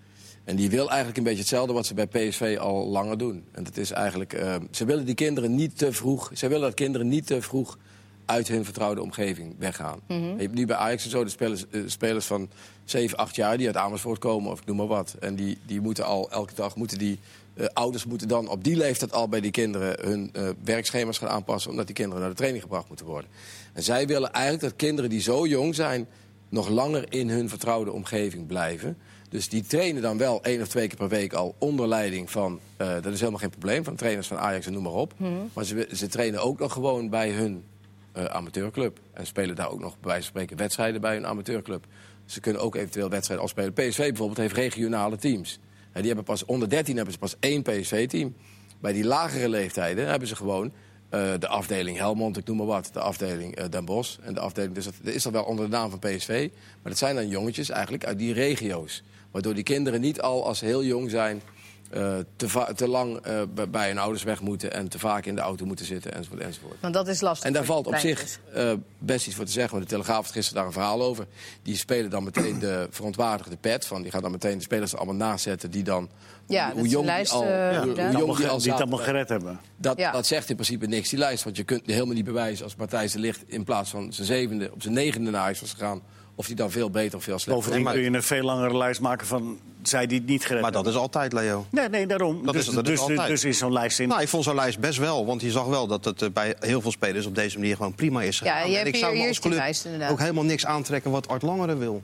En die wil eigenlijk een beetje hetzelfde wat ze bij PSV al langer doen. En dat is eigenlijk, eh, ze willen die kinderen niet te vroeg. Ze willen dat kinderen niet te vroeg uit hun vertrouwde omgeving weggaan. Je hebt nu bij Ajax en zo de spelers, eh, spelers van 7, 8 jaar die uit Amersfoort komen of ik noem maar wat. En die, die moeten al elke dag moeten die. eh, ouders moeten dan op die leeftijd al bij die kinderen hun eh, werkschema's gaan aanpassen. omdat die kinderen naar de training gebracht moeten worden. En zij willen eigenlijk dat kinderen die zo jong zijn nog langer in hun vertrouwde omgeving blijven. Dus die trainen dan wel één of twee keer per week al onder leiding van... eh, dat is helemaal geen probleem, van trainers van Ajax en noem maar op. Maar ze, ze trainen ook nog gewoon bij hun eh, amateurclub. En spelen daar ook nog bij wijze van spreken wedstrijden bij hun amateurclub. Ze kunnen ook eventueel wedstrijden afspelen. PSV bijvoorbeeld heeft regionale teams. En die hebben pas onder 13 hebben ze pas één PSV-team. Bij die lagere leeftijden hebben ze gewoon eh, de afdeling Helmond, ik noem maar wat. De afdeling eh, Den Bosch. En de afdeling, dus dat, dat is dan wel onder de naam van PSV. Maar dat zijn dan jongetjes eigenlijk uit die regio's. Waardoor die kinderen niet al als ze heel jong zijn... eh, te, va- te lang eh, bij- bij hun ouders weg moeten en te vaak in de auto moeten zitten enzovoort. enzovoort. Want dat is lastig. En daar voor valt op die zich kleintjes. eh, best iets voor te zeggen. Want de Telegraaf had gisteren daar een verhaal over. Die spelen dan meteen de veronwaardigde pet. Van, die gaan dan meteen de spelers er allemaal naast zetten die dan... Ja, dat is een lijst, die al, eh, hoe- hoe, inderdaad. Die jong die al het allemaal zaten. gered hebben. Dat, Ja. dat zegt in principe niks, die lijst. Want je kunt helemaal niet bewijzen als Matthijs de Ligt... in plaats van zijn zevende op zijn negende naar huis was gegaan... of die dan veel beter of veel slechter Bovendien maar- kun je een veel langere lijst maken van zij die het niet gered Maar hebben. dat is altijd, Leo. Nee, nee, daarom. Dat dus, is- dat is dus, dus, altijd. dus is zo'n lijst in. Nou, ik vond zo'n lijst best wel. Want je zag wel dat het eh, bij heel veel spelers op deze manier gewoon prima is. gegaan. je En hebt ik hier- zou me hier als is die club lijst, inderdaad. ook helemaal niks aantrekken wat Art Langere wil.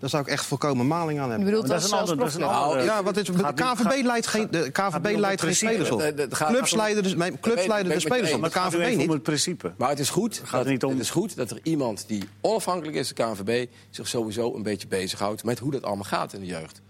Daar zou ik echt volkomen maling aan Je hebben. bedoelt dat als- is een als ander- dat is een profclub. ander- Nou, Ja, wat is, de Gaat niet- KVB gaat- leidt geen, de gaat nu KVB om leidt het geen principe. spelers op. Nee, dat gaat- Clubs leiden de, nee, clubs weet- leiden de weet ik spelers mee op, maar eens. Maar het gaat nu KVB even om niet. het principe. Maar het is goed, gaat dat, er niet om. het is goed dat er iemand die onafhankelijk is, de KNVB... zich sowieso een beetje bezighoudt met hoe dat allemaal gaat in de jeugd.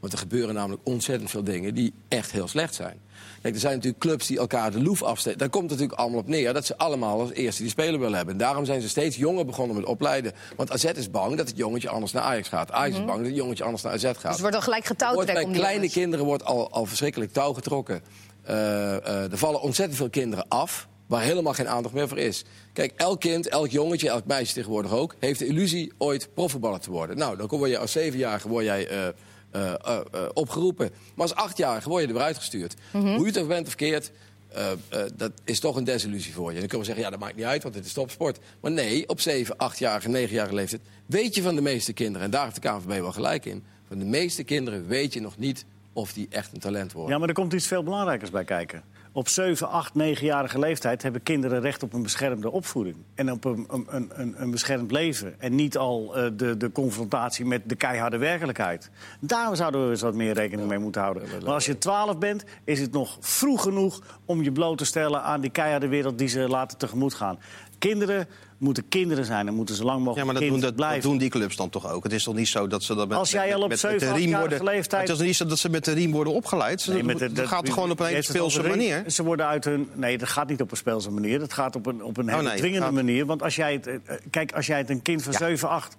Want er gebeuren namelijk ontzettend veel dingen die echt heel slecht zijn. Kijk, er zijn natuurlijk clubs die elkaar de loef afsteken. Daar komt het natuurlijk allemaal op neer dat ze allemaal als eerste die speler willen hebben. En daarom zijn ze steeds jonger begonnen met opleiden. Want AZ is bang dat het jongetje anders naar Ajax gaat. Ajax is bang dat het jongetje anders naar AZ gaat. Mhm. Dus er wordt al gelijk Wordt getouwtrek bij om die kleine jongens. kinderen wordt al, al verschrikkelijk touw getrokken. Eh, eh, er vallen ontzettend veel kinderen af waar helemaal geen aandacht meer voor is. Kijk, elk kind, elk jongetje, elk meisje tegenwoordig ook... heeft de illusie ooit profvoetballer te worden. Nou, dan word je als zevenjarige word jij, eh, eh, eh, eh, opgeroepen. Maar als achtjarige word je eruit gestuurd. Hoe je het ook bent of keert, eh, eh, dat is toch een desillusie voor je. En dan kunnen we zeggen, ja, dat maakt niet uit, want het is topsport. Maar nee, op 7, 8-jarige, 9-jarige leeftijd weet je van de meeste kinderen... en daar heeft de KNVB wel gelijk in... van de meeste kinderen weet je nog niet of die echt een talent worden. Ja, maar er komt iets veel belangrijkers bij kijken. Op 7, 8, 9-jarige leeftijd hebben kinderen recht op een beschermde opvoeding. En op een, een, een- een, een beschermd leven. En niet al eh, de, de confrontatie met de keiharde werkelijkheid. Daar zouden we eens wat meer rekening mee moeten houden. Maar als je 12 bent, is het nog vroeg genoeg om je bloot te stellen aan die keiharde wereld die ze later tegemoet gaan. Kinderen moeten kinderen zijn en moeten zo lang Ja, mogelijk maar dat kind doen, dat, dat blijven. doen die clubs dan toch ook. Het is toch niet zo dat ze dat met, Als jij met- al op met- met zeven, de riem achtjarige worden... leeftijd- Het is niet zo dat ze met de riem worden opgeleid. Ze Nee, maar dat, dat- gaat gewoon op een je hele hebt het over speelse ring. manier. Ze worden uit hun. Nee, dat gaat niet op een speelse manier. Dat gaat op een, op een hele Oh, nee, dwingende gaat- manier. Want als jij het. eh, eh, Kijk, als jij het een kind van 7, 8.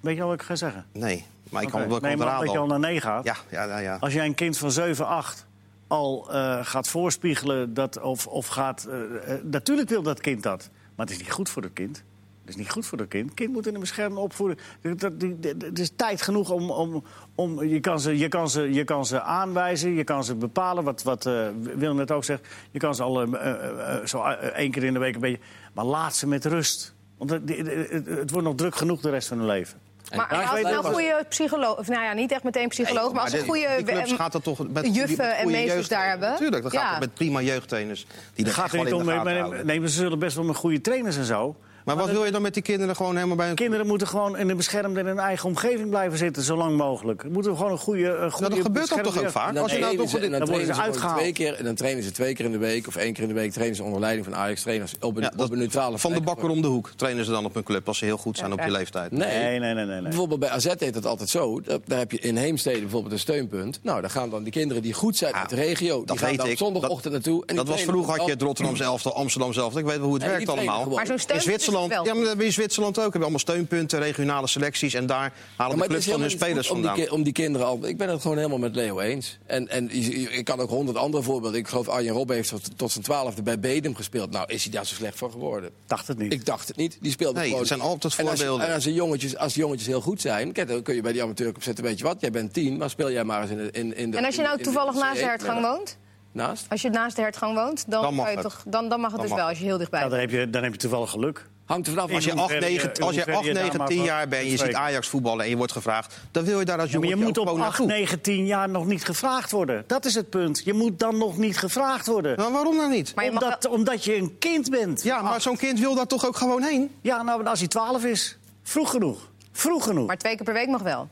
Weet je al wat ik ga zeggen? Nee, maar ik Oké. kan wel nee, maar dat je al raden. naar 9 gaat. Ja, ja, ja, ja. Als jij een kind van 7, 8 al eh, gaat voorspiegelen dat, of, of gaat. eh, eh, natuurlijk wil dat kind dat. Maar het is niet goed voor dat kind. Het is niet goed voor dat kind. kind moet in een beschermde opvoeding. Dat- dat- die- dat- Het is tijd genoeg om. om, om je, kan ze, je, kan ze, je kan ze aanwijzen, je kan ze bepalen. Wat, wat eh, Willem net ook zegt. Je kan ze al eh, eh, eh, zo eh, één keer in de week een beetje. Maar laat ze met rust. Want het, het- het- het wordt nog druk genoeg de rest van hun leven. Maar daar als weet wel Nou, ik een wel. goede psycholoog... Of nou ja, niet echt meteen psycholoog, maar als de- een goede... die clubs eh, gaat dat toch met juffen met en goede meesters jeugd- daar hebben? Tuurlijk, dat Ja. gaat met prima jeugdtrainers. Die dat gaat echt er wel niet in om. de Nee, gaten maar, houden. nee, maar ze zullen best wel met goede trainers en zo. Maar wat wil je dan met die kinderen gewoon helemaal bij een Kinderen moeten gewoon in een beschermde en een eigen omgeving blijven zitten, zo lang mogelijk. Moeten we gewoon een goede. Een goede Nou, dat gebeurt dan beschermde- toch ook vaak? En dan, Als je nou trainen toch ze, en dan dan worden ze trainen ze gewoon uitgehaald. twee keer en dan trainen ze twee keer in de week of één keer in de week trainen ze onder leiding van Ajax trainers op een, Ja, op een neutrale van de plek. bakker om de hoek trainen ze dan op hun club als ze heel goed zijn op die leeftijd. Nee, Nee, nee, nee, nee. nee. Bijvoorbeeld bij AZ heet dat altijd zo. Dat- Daar heb je in Heemstede bijvoorbeeld een steunpunt. Nou, daar gaan dan die kinderen die goed zijn Ja, uit de regio... die dat gaan weet dan ik. op zondagochtend naartoe. En die dat was trainen vroeger dan- had je het Rotterdamse elftal, Amsterdam elftal. Ik weet wel hoe het Nee, die werkt trainen allemaal. gewoon. Maar zo'n In steunpunt is Zwitserland, wel. ja, maar dat hebben we in Zwitserland ook. Hebben allemaal steunpunten, regionale selecties. En daar halen Ja, de maar het clubs is van hun helemaal niet spelers goed om vandaan. Die, ki- om die kinderen al. Ik ben het gewoon helemaal met Leo eens. En, en je- je- ik kan ook honderd andere voorbeelden. Ik geloof Arjen Robben heeft tot, tot zijn twaalfde bij Bedem gespeeld. Nou, is hij daar zo slecht van geworden? Dacht het niet. Ik dacht het niet. Die speelde Nee, gewoon. het zijn altijd En als- voorbeelden. En als, de jongetjes, als de jongetjes heel goed zijn, kijk, dan kun je bij die amateurclub zetten. Weet je wat? Jij bent tien, maar speel jij maar eens in de. In, in de En als je in de- nou in toevallig de naast de C1 hertgang met- woont, Naast? als je naast de hertgang woont, dan, Dan mag kan je het. toch, dan, dan mag het dus Dan mag wel het. als je heel dichtbij Ja, dan, bent. heb je, dan heb je toevallig geluk. Hangt er vanaf. Als je In hoeverre 8, 9, je- als je in hoeverre 8, je daar 9, maar 10 van- jaar bent en je van ziet spreekt. Ajax voetballen en je wordt gevraagd, dan wil je daar als Ja, maar jongetje je moet ook op gewoon 8, naartoe. 9, 10 jaar nog niet gevraagd worden. Dat is het punt. Je moet dan nog niet gevraagd worden. Nou, waarom nou niet? Maar je mag Omdat, omdat je een kind bent. Ja, maar zo'n kind wil daar toch ook gewoon heen? Ja, nou, maar als hij 12 is. Vroeg genoeg. Vroeg genoeg. Maar twee keer per week mag wel.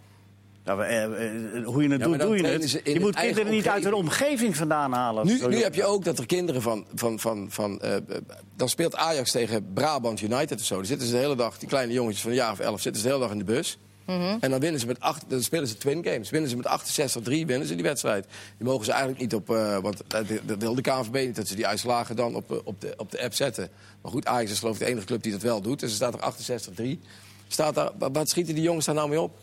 Ja, maar, eh, eh, hoe je het maar doet, dan doe je trainen ze het. in Je hun moet eigen kinderen niet uit hun omgeving. omgeving vandaan halen. Nu, Zo nu jong. heb je ook dat er kinderen van. van, van, van eh, eh, dan speelt Ajax tegen Brabant United of zo. Dan zitten ze de hele dag, die kleine jongetjes van een jaar of elf, zitten ze de hele dag in de bus. Mhm. En dan, winnen ze met acht, dan spelen ze twin games. Winnen ze met 68-3, winnen ze die wedstrijd. Die mogen ze eigenlijk niet op. eh, want dat dat wil de KNVB niet, dat ze die uitslagen dan op, eh, op, de, op de app zetten. Maar goed, Ajax is geloof ik de enige club die dat wel doet. Dus er staat er 68-3. Staat daar, wa- wat schieten die jongens daar nou mee op?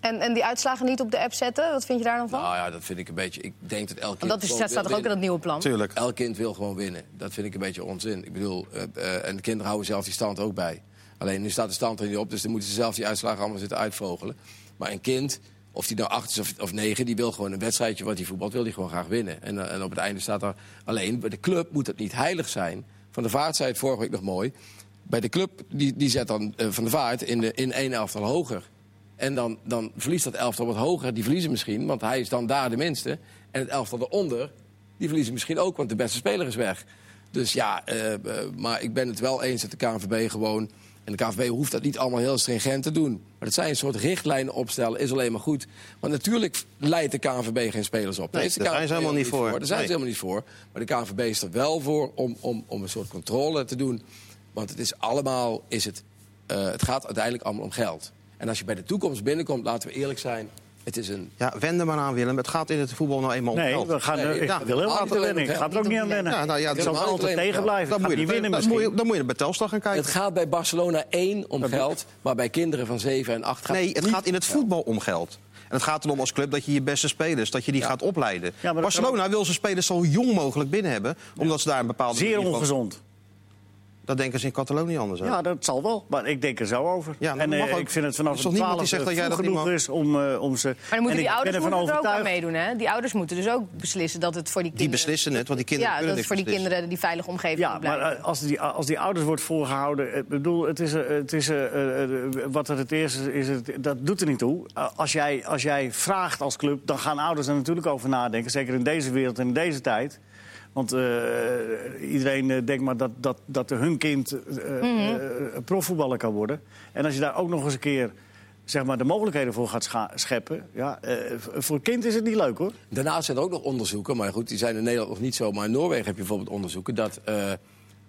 En, en die uitslagen niet op de app zetten, wat vind je daar dan van? Nou ja, dat vind ik een beetje. Ik denk dat elke Want dat, is, gewoon dat staat wil toch ook in dat winnen. nieuwe plan? Tuurlijk. Elk kind wil gewoon winnen. Dat vind ik een beetje onzin. Ik bedoel, eh, eh, en de kinderen houden zelf die stand ook bij. Alleen nu staat de stand er niet op, dus dan moeten ze zelf die uitslagen allemaal zitten uitvogelen. Maar een kind, of die nou acht is of, of negen, die wil gewoon een wedstrijdje wat hij voetbalt, wil die gewoon graag winnen. En, eh, en op het einde staat er. Alleen bij de club moet het niet heilig zijn. Van de vaart zei het vorige week nog mooi. Bij de club, die, die zet dan eh, van de vaart in, de, in één elftal hoger. En dan, dan verliest dat elftal wat hoger. Die verliezen misschien, want hij is dan daar de minste. En het elftal eronder, die verliezen misschien ook, want de beste speler is weg. Dus ja, eh, eh, maar ik ben het wel eens dat de KNVB gewoon... En de KNVB hoeft dat niet allemaal heel stringent te doen. Maar dat zij een soort richtlijnen opstellen is alleen maar goed. Want natuurlijk leidt de KNVB geen spelers op. Nee, is de daar zijn ze KNVB helemaal niet voor. Daar zijn ze Nee. helemaal niet voor. Maar de KNVB is er wel voor om, om, om een soort controle te doen. Want het is allemaal, is het, eh, het gaat uiteindelijk allemaal om geld. En als je bij de toekomst binnenkomt, laten we eerlijk zijn, het is een... Ja, wend er maar aan, Willem. Het gaat in het voetbal nou eenmaal om Nee, geld. we gaan, Nee, ik ja, wil heel niet hard alleen wennen. Ik om ga er ook geld. niet aan wennen. Ja, nou ja, ik dat zal is er altijd alleen om tegen geld. blijven. Dan Ik ga moet, je niet de, winnen dan, moet je, misschien. dan moet je de betelsdag gaan kijken. Het gaat bij Barcelona één om geld, maar bij kinderen van 7 en 8 gaat nee, het niet gaat in het voetbal om geld. En het gaat erom als club dat je je beste spelers, dat je die gaat opleiden. maar dat Barcelona kan wil zijn spelers zo jong mogelijk binnen hebben, omdat ze daar een bepaalde Zeer manier van- ongezond. Dat denken ze in Catalonië anders. hè? Ja, dat zal wel. Maar ik denk er zo over. Ja, dat en eh, mag ook. ik vind het Er vanaf is de toch niemand 12 die zegt dat jij vroeg dat niet genoeg mag? is om, eh, om ze... Maar dan en moeten ik die ouders ben moeten ervan er ook aan overtuigd. meedoen, hè? Die ouders moeten dus ook beslissen dat het voor die Die kinderen... beslissen het, want die kinderen ja, dat kunnen het voor die niks beslissen. kinderen die veilige omgeving Ja, moet maar blijven. eh, als die, als die ouders wordt voorgehouden... Ik bedoel, het is, eh, het is, eh, eh, eh, wat er het eerste is, het, dat doet er niet toe. Eh, als, jij, als jij vraagt als club, dan gaan ouders er natuurlijk over nadenken. Zeker in deze wereld en in deze tijd. Want eh, iedereen eh, denkt maar dat, dat, dat hun kind eh, eh, profvoetballer kan worden. En als je daar ook nog eens een keer... Zeg maar, de mogelijkheden voor gaat scha- scheppen. Ja, eh, v- voor een kind is het niet leuk hoor. Daarnaast zijn er ook nog onderzoeken, maar goed, die zijn in Nederland nog niet zo. Maar in Noorwegen heb je bijvoorbeeld onderzoeken dat eh,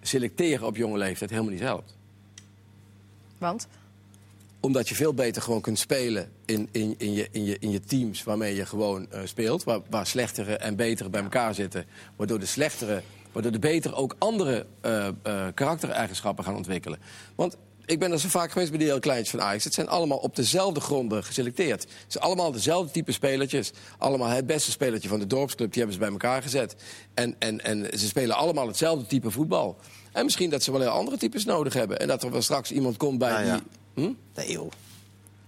selecteren op jonge leeftijd helemaal niet helpt. Want Omdat je veel beter gewoon kunt spelen in, in, in, je, in, je, in je teams waarmee je gewoon eh, speelt. Waar, waar slechtere en betere bij elkaar zitten. Waardoor de slechtere, waardoor de betere ook andere eh, eh, karaktereigenschappen gaan ontwikkelen. Want ik ben er zo vaak geweest bij die heel kleintjes van Ajax. Het zijn allemaal op dezelfde gronden geselecteerd. Het zijn allemaal dezelfde type spelertjes. Allemaal het beste spelertje van de dorpsclub. Die hebben ze bij elkaar gezet. En, en, en ze spelen allemaal hetzelfde type voetbal. En misschien dat ze wel heel andere types nodig hebben. En dat er wel straks iemand komt bij Nou ja. die... Hm? Nee, joh.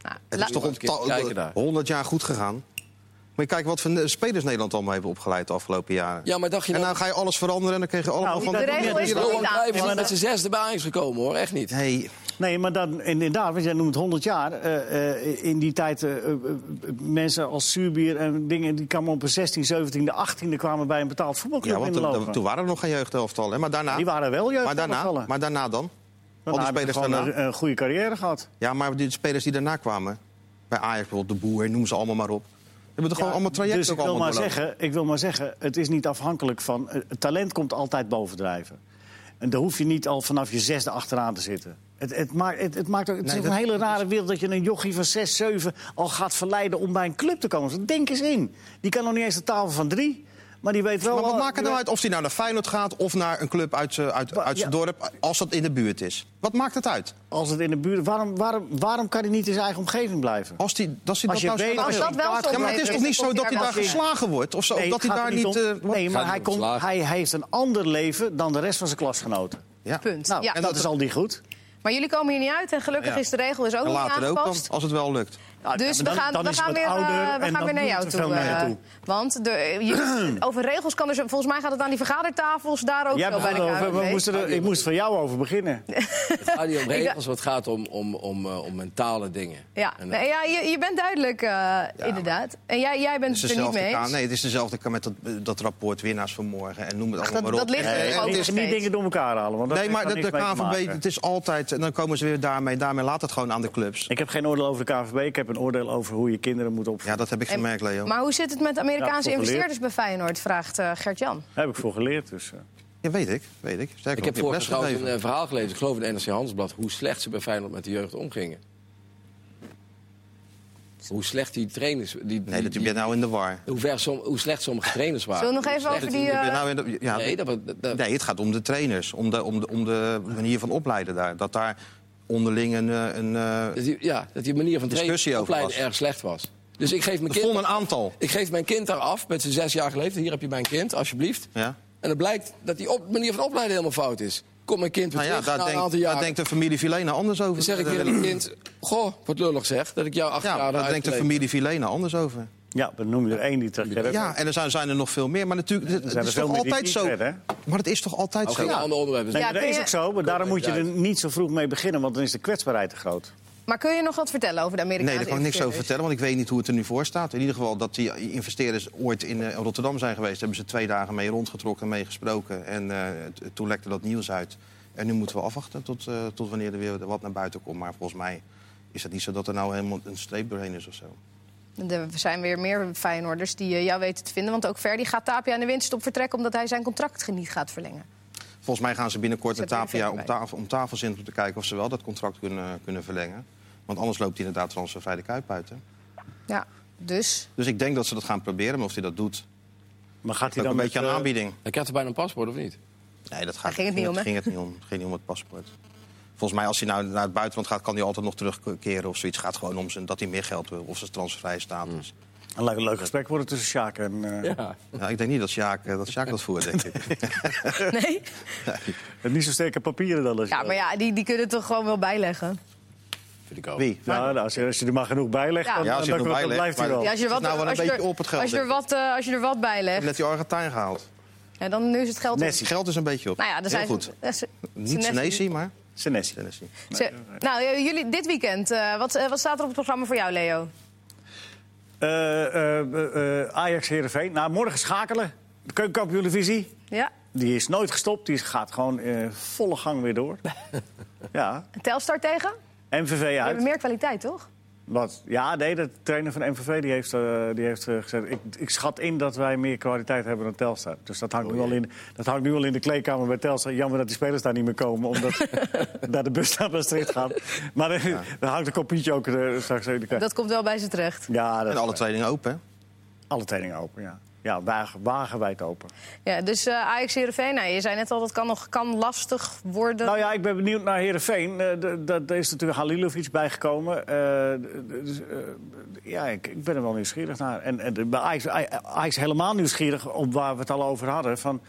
nou, Het la- is toch Laat ik eens kijken al daar. 100 jaar goed gegaan. Moet je kijken wat voor ne- spelers Nederland allemaal hebben opgeleid de afgelopen jaren. Ja, maar dacht je en nou- dan ga je alles veranderen en dan kreeg je allemaal Nou, van... de regel is Johan nog niet Cruijff is aangepast. niet met zijn zesde bij Ajax gekomen, hoor. Echt niet. Nee, Nee, maar dan, inderdaad, want jij noemt 100 jaar. eh, eh, in die tijd eh, eh, eh, mensen als Suurbier en dingen... die kwamen op een 16, 17, 18e kwamen bij een betaald voetbalclub ja, want in de toen- toen waren er nog geen jeugdelftallen. Maar daarna, Die waren wel jeugd. maar, daarna, maar daarna dan? al die spelers gewoon daarna. een, een goede carrière gehad. Ja, maar die spelers die daarna kwamen... bij Ajax bijvoorbeeld, De Boer, noem ze allemaal maar op. Die hebben Ja, toch gewoon allemaal trajecten dus ik ook wil, allemaal maar doorlopen. zeggen, ik wil maar zeggen, het is niet afhankelijk van... eh, Het talent komt altijd bovendrijven. En daar hoef je niet al vanaf je zesde achteraan te zitten. Het, het, maakt, het, het maakt ook, het Nee, is dat- een hele rare wereld dat je een jochie van 6, 7 al gaat verleiden om bij een club te komen. Dus Denk eens in. Die kan nog niet eens de tafel van drie. Maar die weet wel... Maar wat al- maakt het die nou weet- uit of hij nou naar Feyenoord gaat of naar een club uit, z'n- uit, uit zijn ja. dorp, als dat in de buurt is? Wat maakt het uit? Als het in de buurt... Waarom, waarom, waarom kan hij niet in zijn eigen omgeving blijven? Als die, dat hij Als je dat nou weet... zo- Als dat je wel kaart- zo Ja, maar het is Nee, toch niet zo dat hij daar als je- geslagen wordt? Of zo, Nee, dat hij het daar gaat er niet... om. eh, wat- nee, Gaat maar niet hij, om komt, slagen. hij heeft een ander leven dan de rest van zijn klasgenoten. ja. Punt. Nou, ja. en dat, is al niet goed. Maar jullie komen hier niet uit en gelukkig Ja. is de regel dus ook En niet later ook dan, aangepast. als het wel lukt. Nou, Dus ja, we maar dan- gaan, dan we is gaan het weer, eh, ouder en we gaan dan weer naar doet jou er toe. veel meer eh, naartoe. want de, je- over regels kan er... zo- Volgens mij gaat het aan die vergadertafels daar ook Jij zo bij begon de over, we KNVB. moesten er- ik moest van jou over beginnen. Het gaat niet om regels, maar het gaat om, om, om, eh, om mentale dingen. Ja, En, eh, nee, ja je, je bent duidelijk, eh, inderdaad. En jij, jij bent Het het is er niet dezelfde mee ka- eens. nee, het is dezelfde ka- met dat, eh, dat rapport winnaars van morgen en noem het allemaal dat- maar dat op. ligt er En- ook en over. het Eh, Niet, is- steeds. niet dingen door elkaar halen. Want dat Nee, heeft maar daar de, de niks mee te KNVB, maken. het is altijd... En dan komen ze weer daarmee, daarmee laat het gewoon aan de clubs. Ik heb geen oordeel over de KVB. Ik heb een oordeel over hoe je kinderen moet opvoeden. Ja, dat heb ik En- gemerkt, Leo. maar hoe zit het met Ja, Amerikaanse voor geleerd. investeerders bij Feyenoord, vraagt eh, Gert-Jan. Daar heb ik voor geleerd. Dus, eh. Ja, weet ik, weet ik. Sterker Ik nog, heb je hebt vorig les trouwens een gegeven. eh, verhaal gelezen, ik geloof in het NRC Handelsblad... hoe slecht ze bij Feyenoord met de jeugd omgingen. Hoe slecht die trainers... Die, die- Nee, dat je die- bent nou in de war. hoe, ver som- hoe slecht sommige trainers waren. Zullen we nog Hoe even slecht- over die... Je bent eh, nou in de, ja, Nee, dat, dat, dat- Nee, het gaat om de trainers, om de, om de, om de manier van opleiden daar. Dat daar onderling een... eh, een eh, dat die, ja, dat die manier van trainen Discussie over opleiden was. erg slecht was. Dus ik geef, mijn er kind, stonden een aantal. ik geef mijn kind daar af met zijn zes jaar geleden. Hier heb je mijn kind, alsjeblieft. Ja. En dan blijkt dat die op, manier van opleiden helemaal fout is. Komt mijn kind weer Nou ja, terug daar, na een denkt- aantal daar jaren. denkt de familie Vilena anders over. dan zeg ik weer aan het kind... Goh, wat lullig zeg, dat ik jou acht ja, jaar daar denkt de uitgeleend familie Vilena anders over. ja, dan noem je er één die terecht hebt. Ja, en er zijn, zijn er nog veel meer. Maar natuurlijk, het, het zijn er is veel toch meer die altijd niet zo. redden, hè? Maar het is toch altijd Ook zo. geen Ja. ander onderwerp. Dus Nee, Ja, maar kun dat is je- ook zo. Maar daarom moet je er niet zo vroeg mee beginnen, want dan is de kwetsbaarheid te groot. Maar kun je nog wat vertellen over de Amerikaanse Nee, daar kan ik niks over investeerders? vertellen, want ik weet niet hoe het er nu voor staat. In ieder geval dat die investeerders ooit in eh, Rotterdam zijn geweest. Daar hebben ze twee dagen mee rondgetrokken, mee gesproken. En eh, t- toen lekte dat nieuws uit. En nu moeten we afwachten tot, eh, tot wanneer er weer wat naar buiten komt. Maar volgens mij is het niet zo dat er nou helemaal een streep doorheen is of zo. Er zijn weer meer Feyenoorders die eh, jou weten te vinden. Want ook Verdi gaat Tapia aan de winststop vertrekken... omdat hij zijn contract ge- niet gaat verlengen. Volgens mij gaan ze binnenkort met Zet er even Tapia om bij. tafel, om tafel zitten om te kijken of ze wel dat contract kunnen, kunnen verlengen. Want anders loopt hij inderdaad transfervrij de kuip uit. hè. Ja, dus... Dus ik denk dat ze dat gaan proberen, maar of hij dat doet, Maar gaat hij ook dan een met, beetje aan eh, aanbieding. Ik had er bijna een paspoort, of niet? Nee, dat gaat, Daar ging het niet om, hè? ging het niet om. Het ging niet om het paspoort. Volgens mij, als hij nou naar het buitenland gaat, kan hij altijd nog terugkeren of zoiets. Het gaat gewoon om zijn, dat hij meer geld wil of zijn transfervrij status. Een leuk, leuk gesprek worden tussen Sjaak en... eh, Ja. Nou, ik denk niet dat Sjaak eh, dat, Sjaak dat voert, denk ik. Nee? met Niet zo sterke papieren dan als je- Ja, maar ja, die, die kunnen het toch gewoon wel bijleggen. Oh, Vind ik ook. Wie? Ja, nou, als, je, als je er maar genoeg bij legt, Ja. dan, Ja, als je dan, er dan nog bij blijft hij legt, wel. Ja, als je, Het wat, is nou wel een als, je er, beetje op het geld, als, je er denk wat, eh, als je er wat bij legt, Net die Argentijn gehaald. ja, dan nu is het geld op. Nessie. Geld is een beetje op. Nou ja, dan zijn Heel goed. ze- eh, ze- Niet ze- Senesi, maar Senesi. Senesi. ze- Nou, eh, jullie, dit weekend, eh, wat, eh, wat staat er op het programma voor jou, Leo? Eh, eh, eh, eh, Ajax Heerenveen. Nou, morgen schakelen. De keukenkampioen divisie. Ja, Die is nooit gestopt. Die gaat gewoon eh, volle gang weer door. ja. Telstar tegen? MVV We uit. hebben meer kwaliteit, toch? Wat? Ja, nee, de trainer van MVV die heeft, eh, die heeft eh, gezegd... Ik, ik schat in dat wij meer kwaliteit hebben dan Telstar. Dus dat Oh, hangt, nu al in, dat hangt nu al in de kleedkamer bij Telstar. Jammer dat die spelers daar niet meer komen, omdat daar de bus naar Maastricht gaat. Maar eh, daar hangt een kopietje ook eh, straks in de kleedkamer. Dat komt wel bij ze terecht. Ja, dat En alle trainingen open, hè? alle trainingen open, ja. Ja, wagen, wagenwijd open. Ja, dus eh Ajax Heerenveen, nou, je zei net al, dat kan nog kan lastig worden. Nou ja, ik ben benieuwd naar Heerenveen. Eh, d- d- Daar is natuurlijk Halilovic bijgekomen. Eh, d- d- dus, eh, Ja, ik ik ben er wel nieuwsgierig naar. En en de- bij Ajax- Aj- Ajax helemaal nieuwsgierig op waar we het al over hadden. Van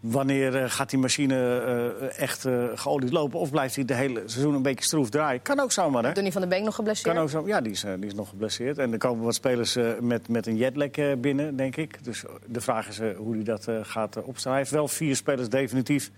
wanneer eh, gaat die machine eh, echt eh, geolied lopen? Of blijft hij de hele seizoen een beetje stroef draaien? Kan ook zomaar, hè? Donny van de Beek nog geblesseerd. Kan ook zo, ja, die is, eh, die is nog geblesseerd. En er komen wat spelers eh, met, met een jetlag eh, binnen, denk ik. Dus de vraag is eh, hoe hij dat eh, gaat eh, opstaan. Hij heeft wel vier spelers definitief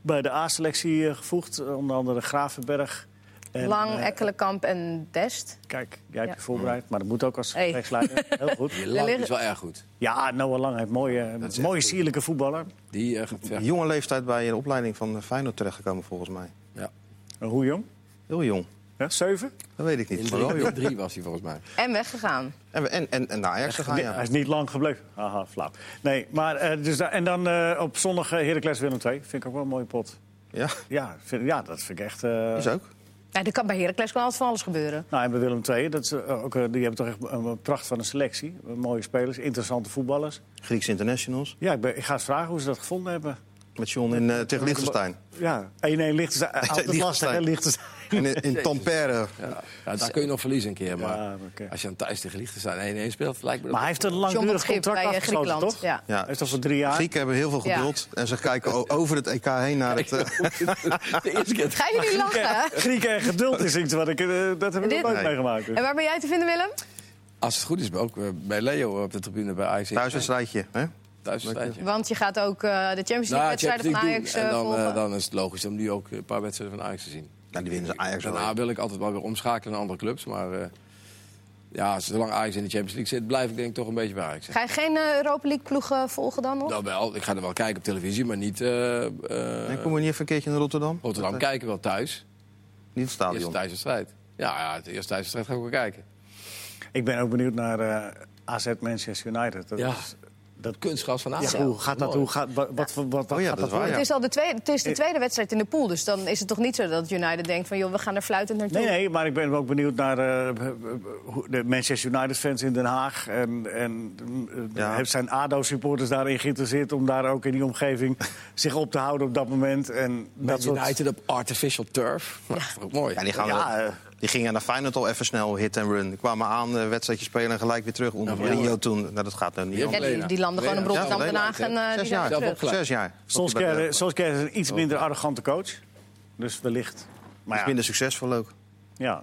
bij de A-selectie eh, gevoegd. Eh, onder andere Gravenberg. En, Lang, eh, Ekkelenkamp en Dest. Kijk, jij hebt Ja. je voorbereid, maar dat moet ook als Hey. rechtsleider. Heel goed. Die Lang liggen- is wel erg goed. Ja, Noah Lang heeft mooie, is echt mooie goed. sierlijke voetballer. Die eh, gaat ver. Jonge leeftijd bij de opleiding van eh, Feyenoord terechtgekomen, volgens mij. Ja. Eh, Hoe jong? Heel jong. Ja, zeven? Dat weet ik In niet. Maar drie, wel jong. in drie was hij volgens mij. En weggegaan. En, en, en, en naar Ajax Ah, gegaan, Nee, Hij ja. is niet lang gebleven. Haha, flauw. Nee, maar, eh, dus, da- en dan eh, op zondag eh, Heracles Willem II. Vind ik ook wel een mooie pot. Ja, Ja, vind- ja dat vind ik echt... eh, is ook. Ja, er kan, bij Heracles kan altijd van alles gebeuren. Nou, en bij Willem II, dat is eh, ook, eh, die hebben toch echt een een pracht van een selectie. Mooie spelers, interessante voetballers. Grieks internationals. Ja, ik, ben, ik ga eens vragen hoe ze dat gevonden hebben. Met John in, eh, tegen Liechtenstein. Ja, 1-1 Liechtenstein. Altijd lastig, hè, Liechtenstein. Liechtenstein. En in, in Tampere. Ja, ja, daar kun je nog verliezen een keer. Maar Ja, oké. als je aan thuis tegen Liechtenstein 1-1 speelt, lijkt me dat... Maar hij heeft een John van langdurig Schip contract bij eh, afgesloten, Griekenland. toch? Ja. Hij heeft al voor drie jaar. Grieken hebben heel veel Ja. geduld. En ze kijken o- over het EK heen naar het... eh, de eerste keer. Gaan jullie lachen? Grieken en geduld is iets wat ik... eh, dat heb ik Dit- nog nooit Nee. meegemaakt. En waar ben jij te vinden, Willem? Als het goed is, ben ik ook eh, bij Leo op de tribune bij Ajax. Thuiswedstrijdje, hè? Thuis een tijdje. Want je gaat ook eh, de Champions Nou, Nou, League wedstrijden van Champions Ajax eh, League doen. En dan, volgen. eh, dan is het logisch om nu ook een paar wedstrijden van Ajax te zien. Nou, die winnen ze Ajax wel. Daarna wil ik altijd wel weer omschakelen naar andere clubs. Maar eh, ja, zolang Ajax in de Champions League zit, blijf ik denk ik toch een beetje bij Ajax. Ga je geen eh, Europa League ploegen volgen dan nog? Nou wel, ik ga er wel kijken op televisie, maar niet eh, eh, En komen we niet even een keertje naar Rotterdam? Rotterdam Dat, eh, kijken, wel thuis. Niet het Oh, Eerste stadion. thuiswedstrijd. Ja, ja, de eerste thuiswedstrijd ga ik wel kijken. Ik ben ook benieuwd naar eh, AZ Manchester United. Dat Ja. Ah, is- dat, Kunstgras van Ajax. ja, hoe gaat dat? Hoe gaat, wat, wat, wat, wat Oh ja, gaat dat is waar, worden? Het ja. is al de tweede, het is de tweede wedstrijd in de pool, dus dan is het toch niet zo dat United denkt van... joh, we gaan er fluitend naartoe. Nee, nee, maar ik ben ook benieuwd naar eh, hoe de Manchester United-fans in Den Haag. En, en eh, Ja. heeft zijn ADO-supporters daarin geïnteresseerd om daar ook in die omgeving zich op te houden op dat moment? En dat Met soort... United op artificial turf. Dat is toch ook mooi. Ja, die, gaan Ja, wel- eh. die gingen naar Feyenoord al even snel hit en run. Die kwamen aan, eh, wedstrijdje spelen en gelijk weer terug. Onder Mourinho toen. Nou, dat gaat nou niet. Ja, anders. Ja, die, die landen gewoon in Ja, Rotterdam, alleen Den Haag en eh, die zijn Zes jaar. weer Zelf terug. opgeleid. Zes jaar. Solskjaer, eh, Is Solskjaer is een iets minder arrogante coach. Dus wellicht. Maar ja, minder succesvol ook. ja,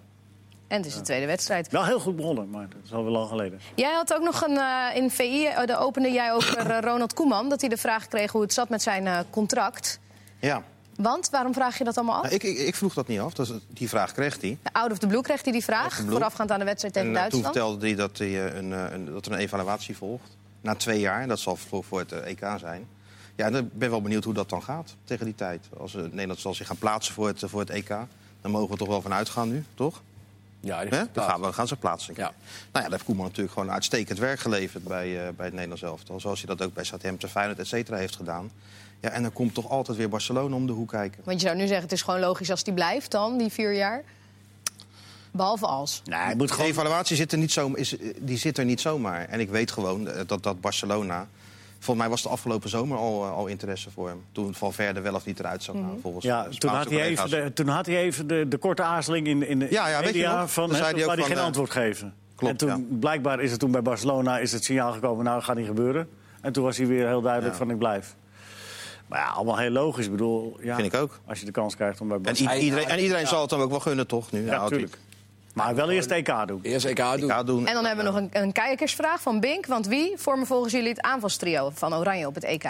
En het is de tweede wedstrijd. wel heel goed begonnen, maar dat is al wel lang geleden. Jij had ook nog een, eh, in VI, eh, daar opende jij over eh, Ronald Koeman... dat hij de vraag kreeg hoe het zat met zijn eh, contract. Ja. Want, waarom vraag je dat allemaal af? Nou, ik, ik, ik vroeg dat niet af. Dat, is- die vraag kreeg hij. Out of the blue kreeg hij die vraag, the blue. voorafgaand aan de wedstrijd tegen En eh, toen Duitsland. vertelde hij dat, hij, eh, een, eh, een- dat er een evaluatie volgt. Na twee jaar, dat zal voor, voor het eh, EK zijn. Ja, en ik ben wel benieuwd hoe dat dan gaat tegen die tijd. Als eh, Nederland zal zich gaan plaatsen voor het, eh, voor het EK. Dan mogen we toch wel van uitgaan nu, toch? Ja, die Hè? gaat Dan plaatsen. gaan we gaan ze plaatsen. Ja. Nou ja, daar heeft Koeman natuurlijk gewoon uitstekend werk geleverd bij, eh, bij het Nederlands elftal. Zoals hij dat ook bij Southampton, Feyenoord, et cetera heeft gedaan. Ja, en dan komt toch altijd weer Barcelona om de hoek kijken. Want je zou nu zeggen, het is gewoon logisch als die blijft dan, die vier jaar. Behalve als. Nee, hij moet De gewoon... evaluatie zit er niet zo, is, eh, die zit er niet zomaar. En ik weet gewoon eh, dat, dat Barcelona... Volgens mij was de afgelopen zomer al, eh, al interesse voor hem. Toen Valverde wel of niet eruit Mhm. zou gaan. Volgens Ja, Spaanse toen had hij collega's. even de, toen had hij even de, de korte aarzeling in, in de Ja, ja, weet je media nog? van Dan hè, zei hij ook waar hij van, geen eh, antwoord geven. klopt, en toen, blijkbaar is het toen bij Barcelona is het signaal gekomen, nou, dat gaat niet gebeuren. En toen was hij weer heel duidelijk Ja. van, ik blijf. Maar ja, allemaal heel logisch. Ik bedoel, ja, Vind ik ook. als je de kans krijgt om bij En, Barcelona... i- iedereen, en iedereen zal het hem ook wel gunnen, toch? Nu, Ja, natuurlijk. Maar wel eerst EK doen. Eerst EK doen. Ja, doen. En dan hebben we nog een, een kijkersvraag van Bink. Want wie vormen volgens jullie het aanvalstrio van Oranje op het EK?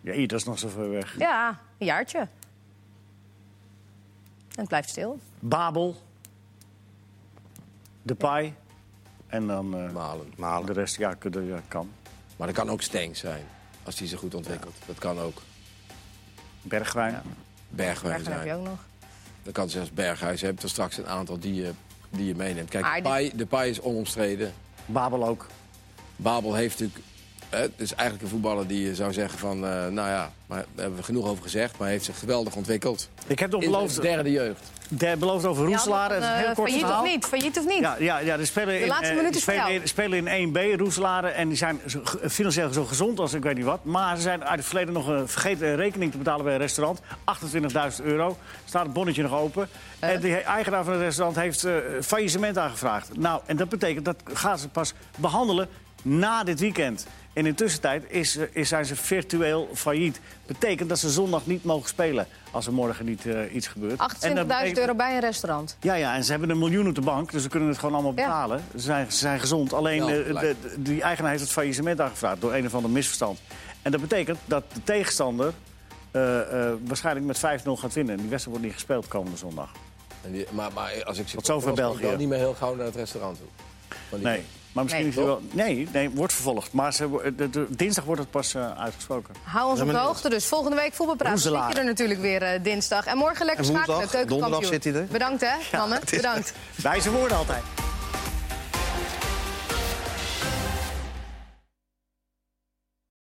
Ja, hier, dat is nog zo ver weg. Ja, een jaartje. En het blijft stil. Babel, Depay en dan eh, Malen. Malen. de rest, ja, kun- ja, kan. Maar dat kan ook Stengs zijn, als die zich goed ontwikkelt. Dat kan ook Bergwijn. Bergwijn Daar heb je zijn. ook nog. Dan kan zelfs Berghuis. Je hebt er straks een aantal die je, die je meeneemt. Kijk, Maar de die- paai, de paai is onomstreden. Babel ook. Babel heeft natuurlijk... hè, Het is eigenlijk een voetballer die je zou zeggen van... eh, nou ja, maar, daar hebben we genoeg over gezegd. Maar hij heeft zich geweldig ontwikkeld. Ik heb nog In beloofd, de derde jeugd. de, beloofd over Roeselaar. Ja, Het is een eh, heel kort failliet verhaal. of niet? Failliet of niet? Ja, ja, ja, de spelen, in, laatste eh, minuut die is voor spelen, jou. in, spelen in 1B, Roeselaren. En die zijn zo, ge- financieel zo gezond als ik weet niet wat. Maar ze zijn uit het verleden nog een vergeten een rekening te betalen bij een restaurant. 28.000 euro. Staat het bonnetje nog open. Eh. En de eigenaar van het restaurant heeft eh, faillissement aangevraagd. Nou, en dat betekent dat gaan ze pas behandelen na dit weekend. En in de tussentijd is, eh, is, zijn ze virtueel failliet. Betekent dat ze zondag niet mogen spelen als er morgen niet eh, iets gebeurt. En dat 28.000 betekent- euro bij een restaurant. ja, ja, en ze hebben een miljoen op de bank, dus ze kunnen het gewoon allemaal Ja. betalen. Ze, zijn, ze zijn gezond. Alleen Ja, eh, gelijk. de- de- die eigenaar heeft het faillissement aangevraagd door een of ander misverstand. En dat betekent dat de tegenstander eh, eh, waarschijnlijk met 5-0 gaat winnen. En die wedstrijd wordt niet gespeeld komende zondag. En die- maar, maar als ik Tot zover was, kon ik België. wel niet meer heel gauw naar het restaurant toe. Van die- Nee. Maar misschien Nee, is het wel. Nee, nee, wordt vervolgd. Maar ze, wo- de- de- dinsdag wordt het pas eh, uitgesproken. Hou ons op de maar- hoogte dus. Volgende week voetbalpraat. Dan zit Roeselaar. je er natuurlijk weer eh, dinsdag. En morgen lekker En woensdag, schakelen. Keukenkampioen. donderdag zit hij er. Bedankt hè, mannen. Bedankt. Wijze woorden altijd.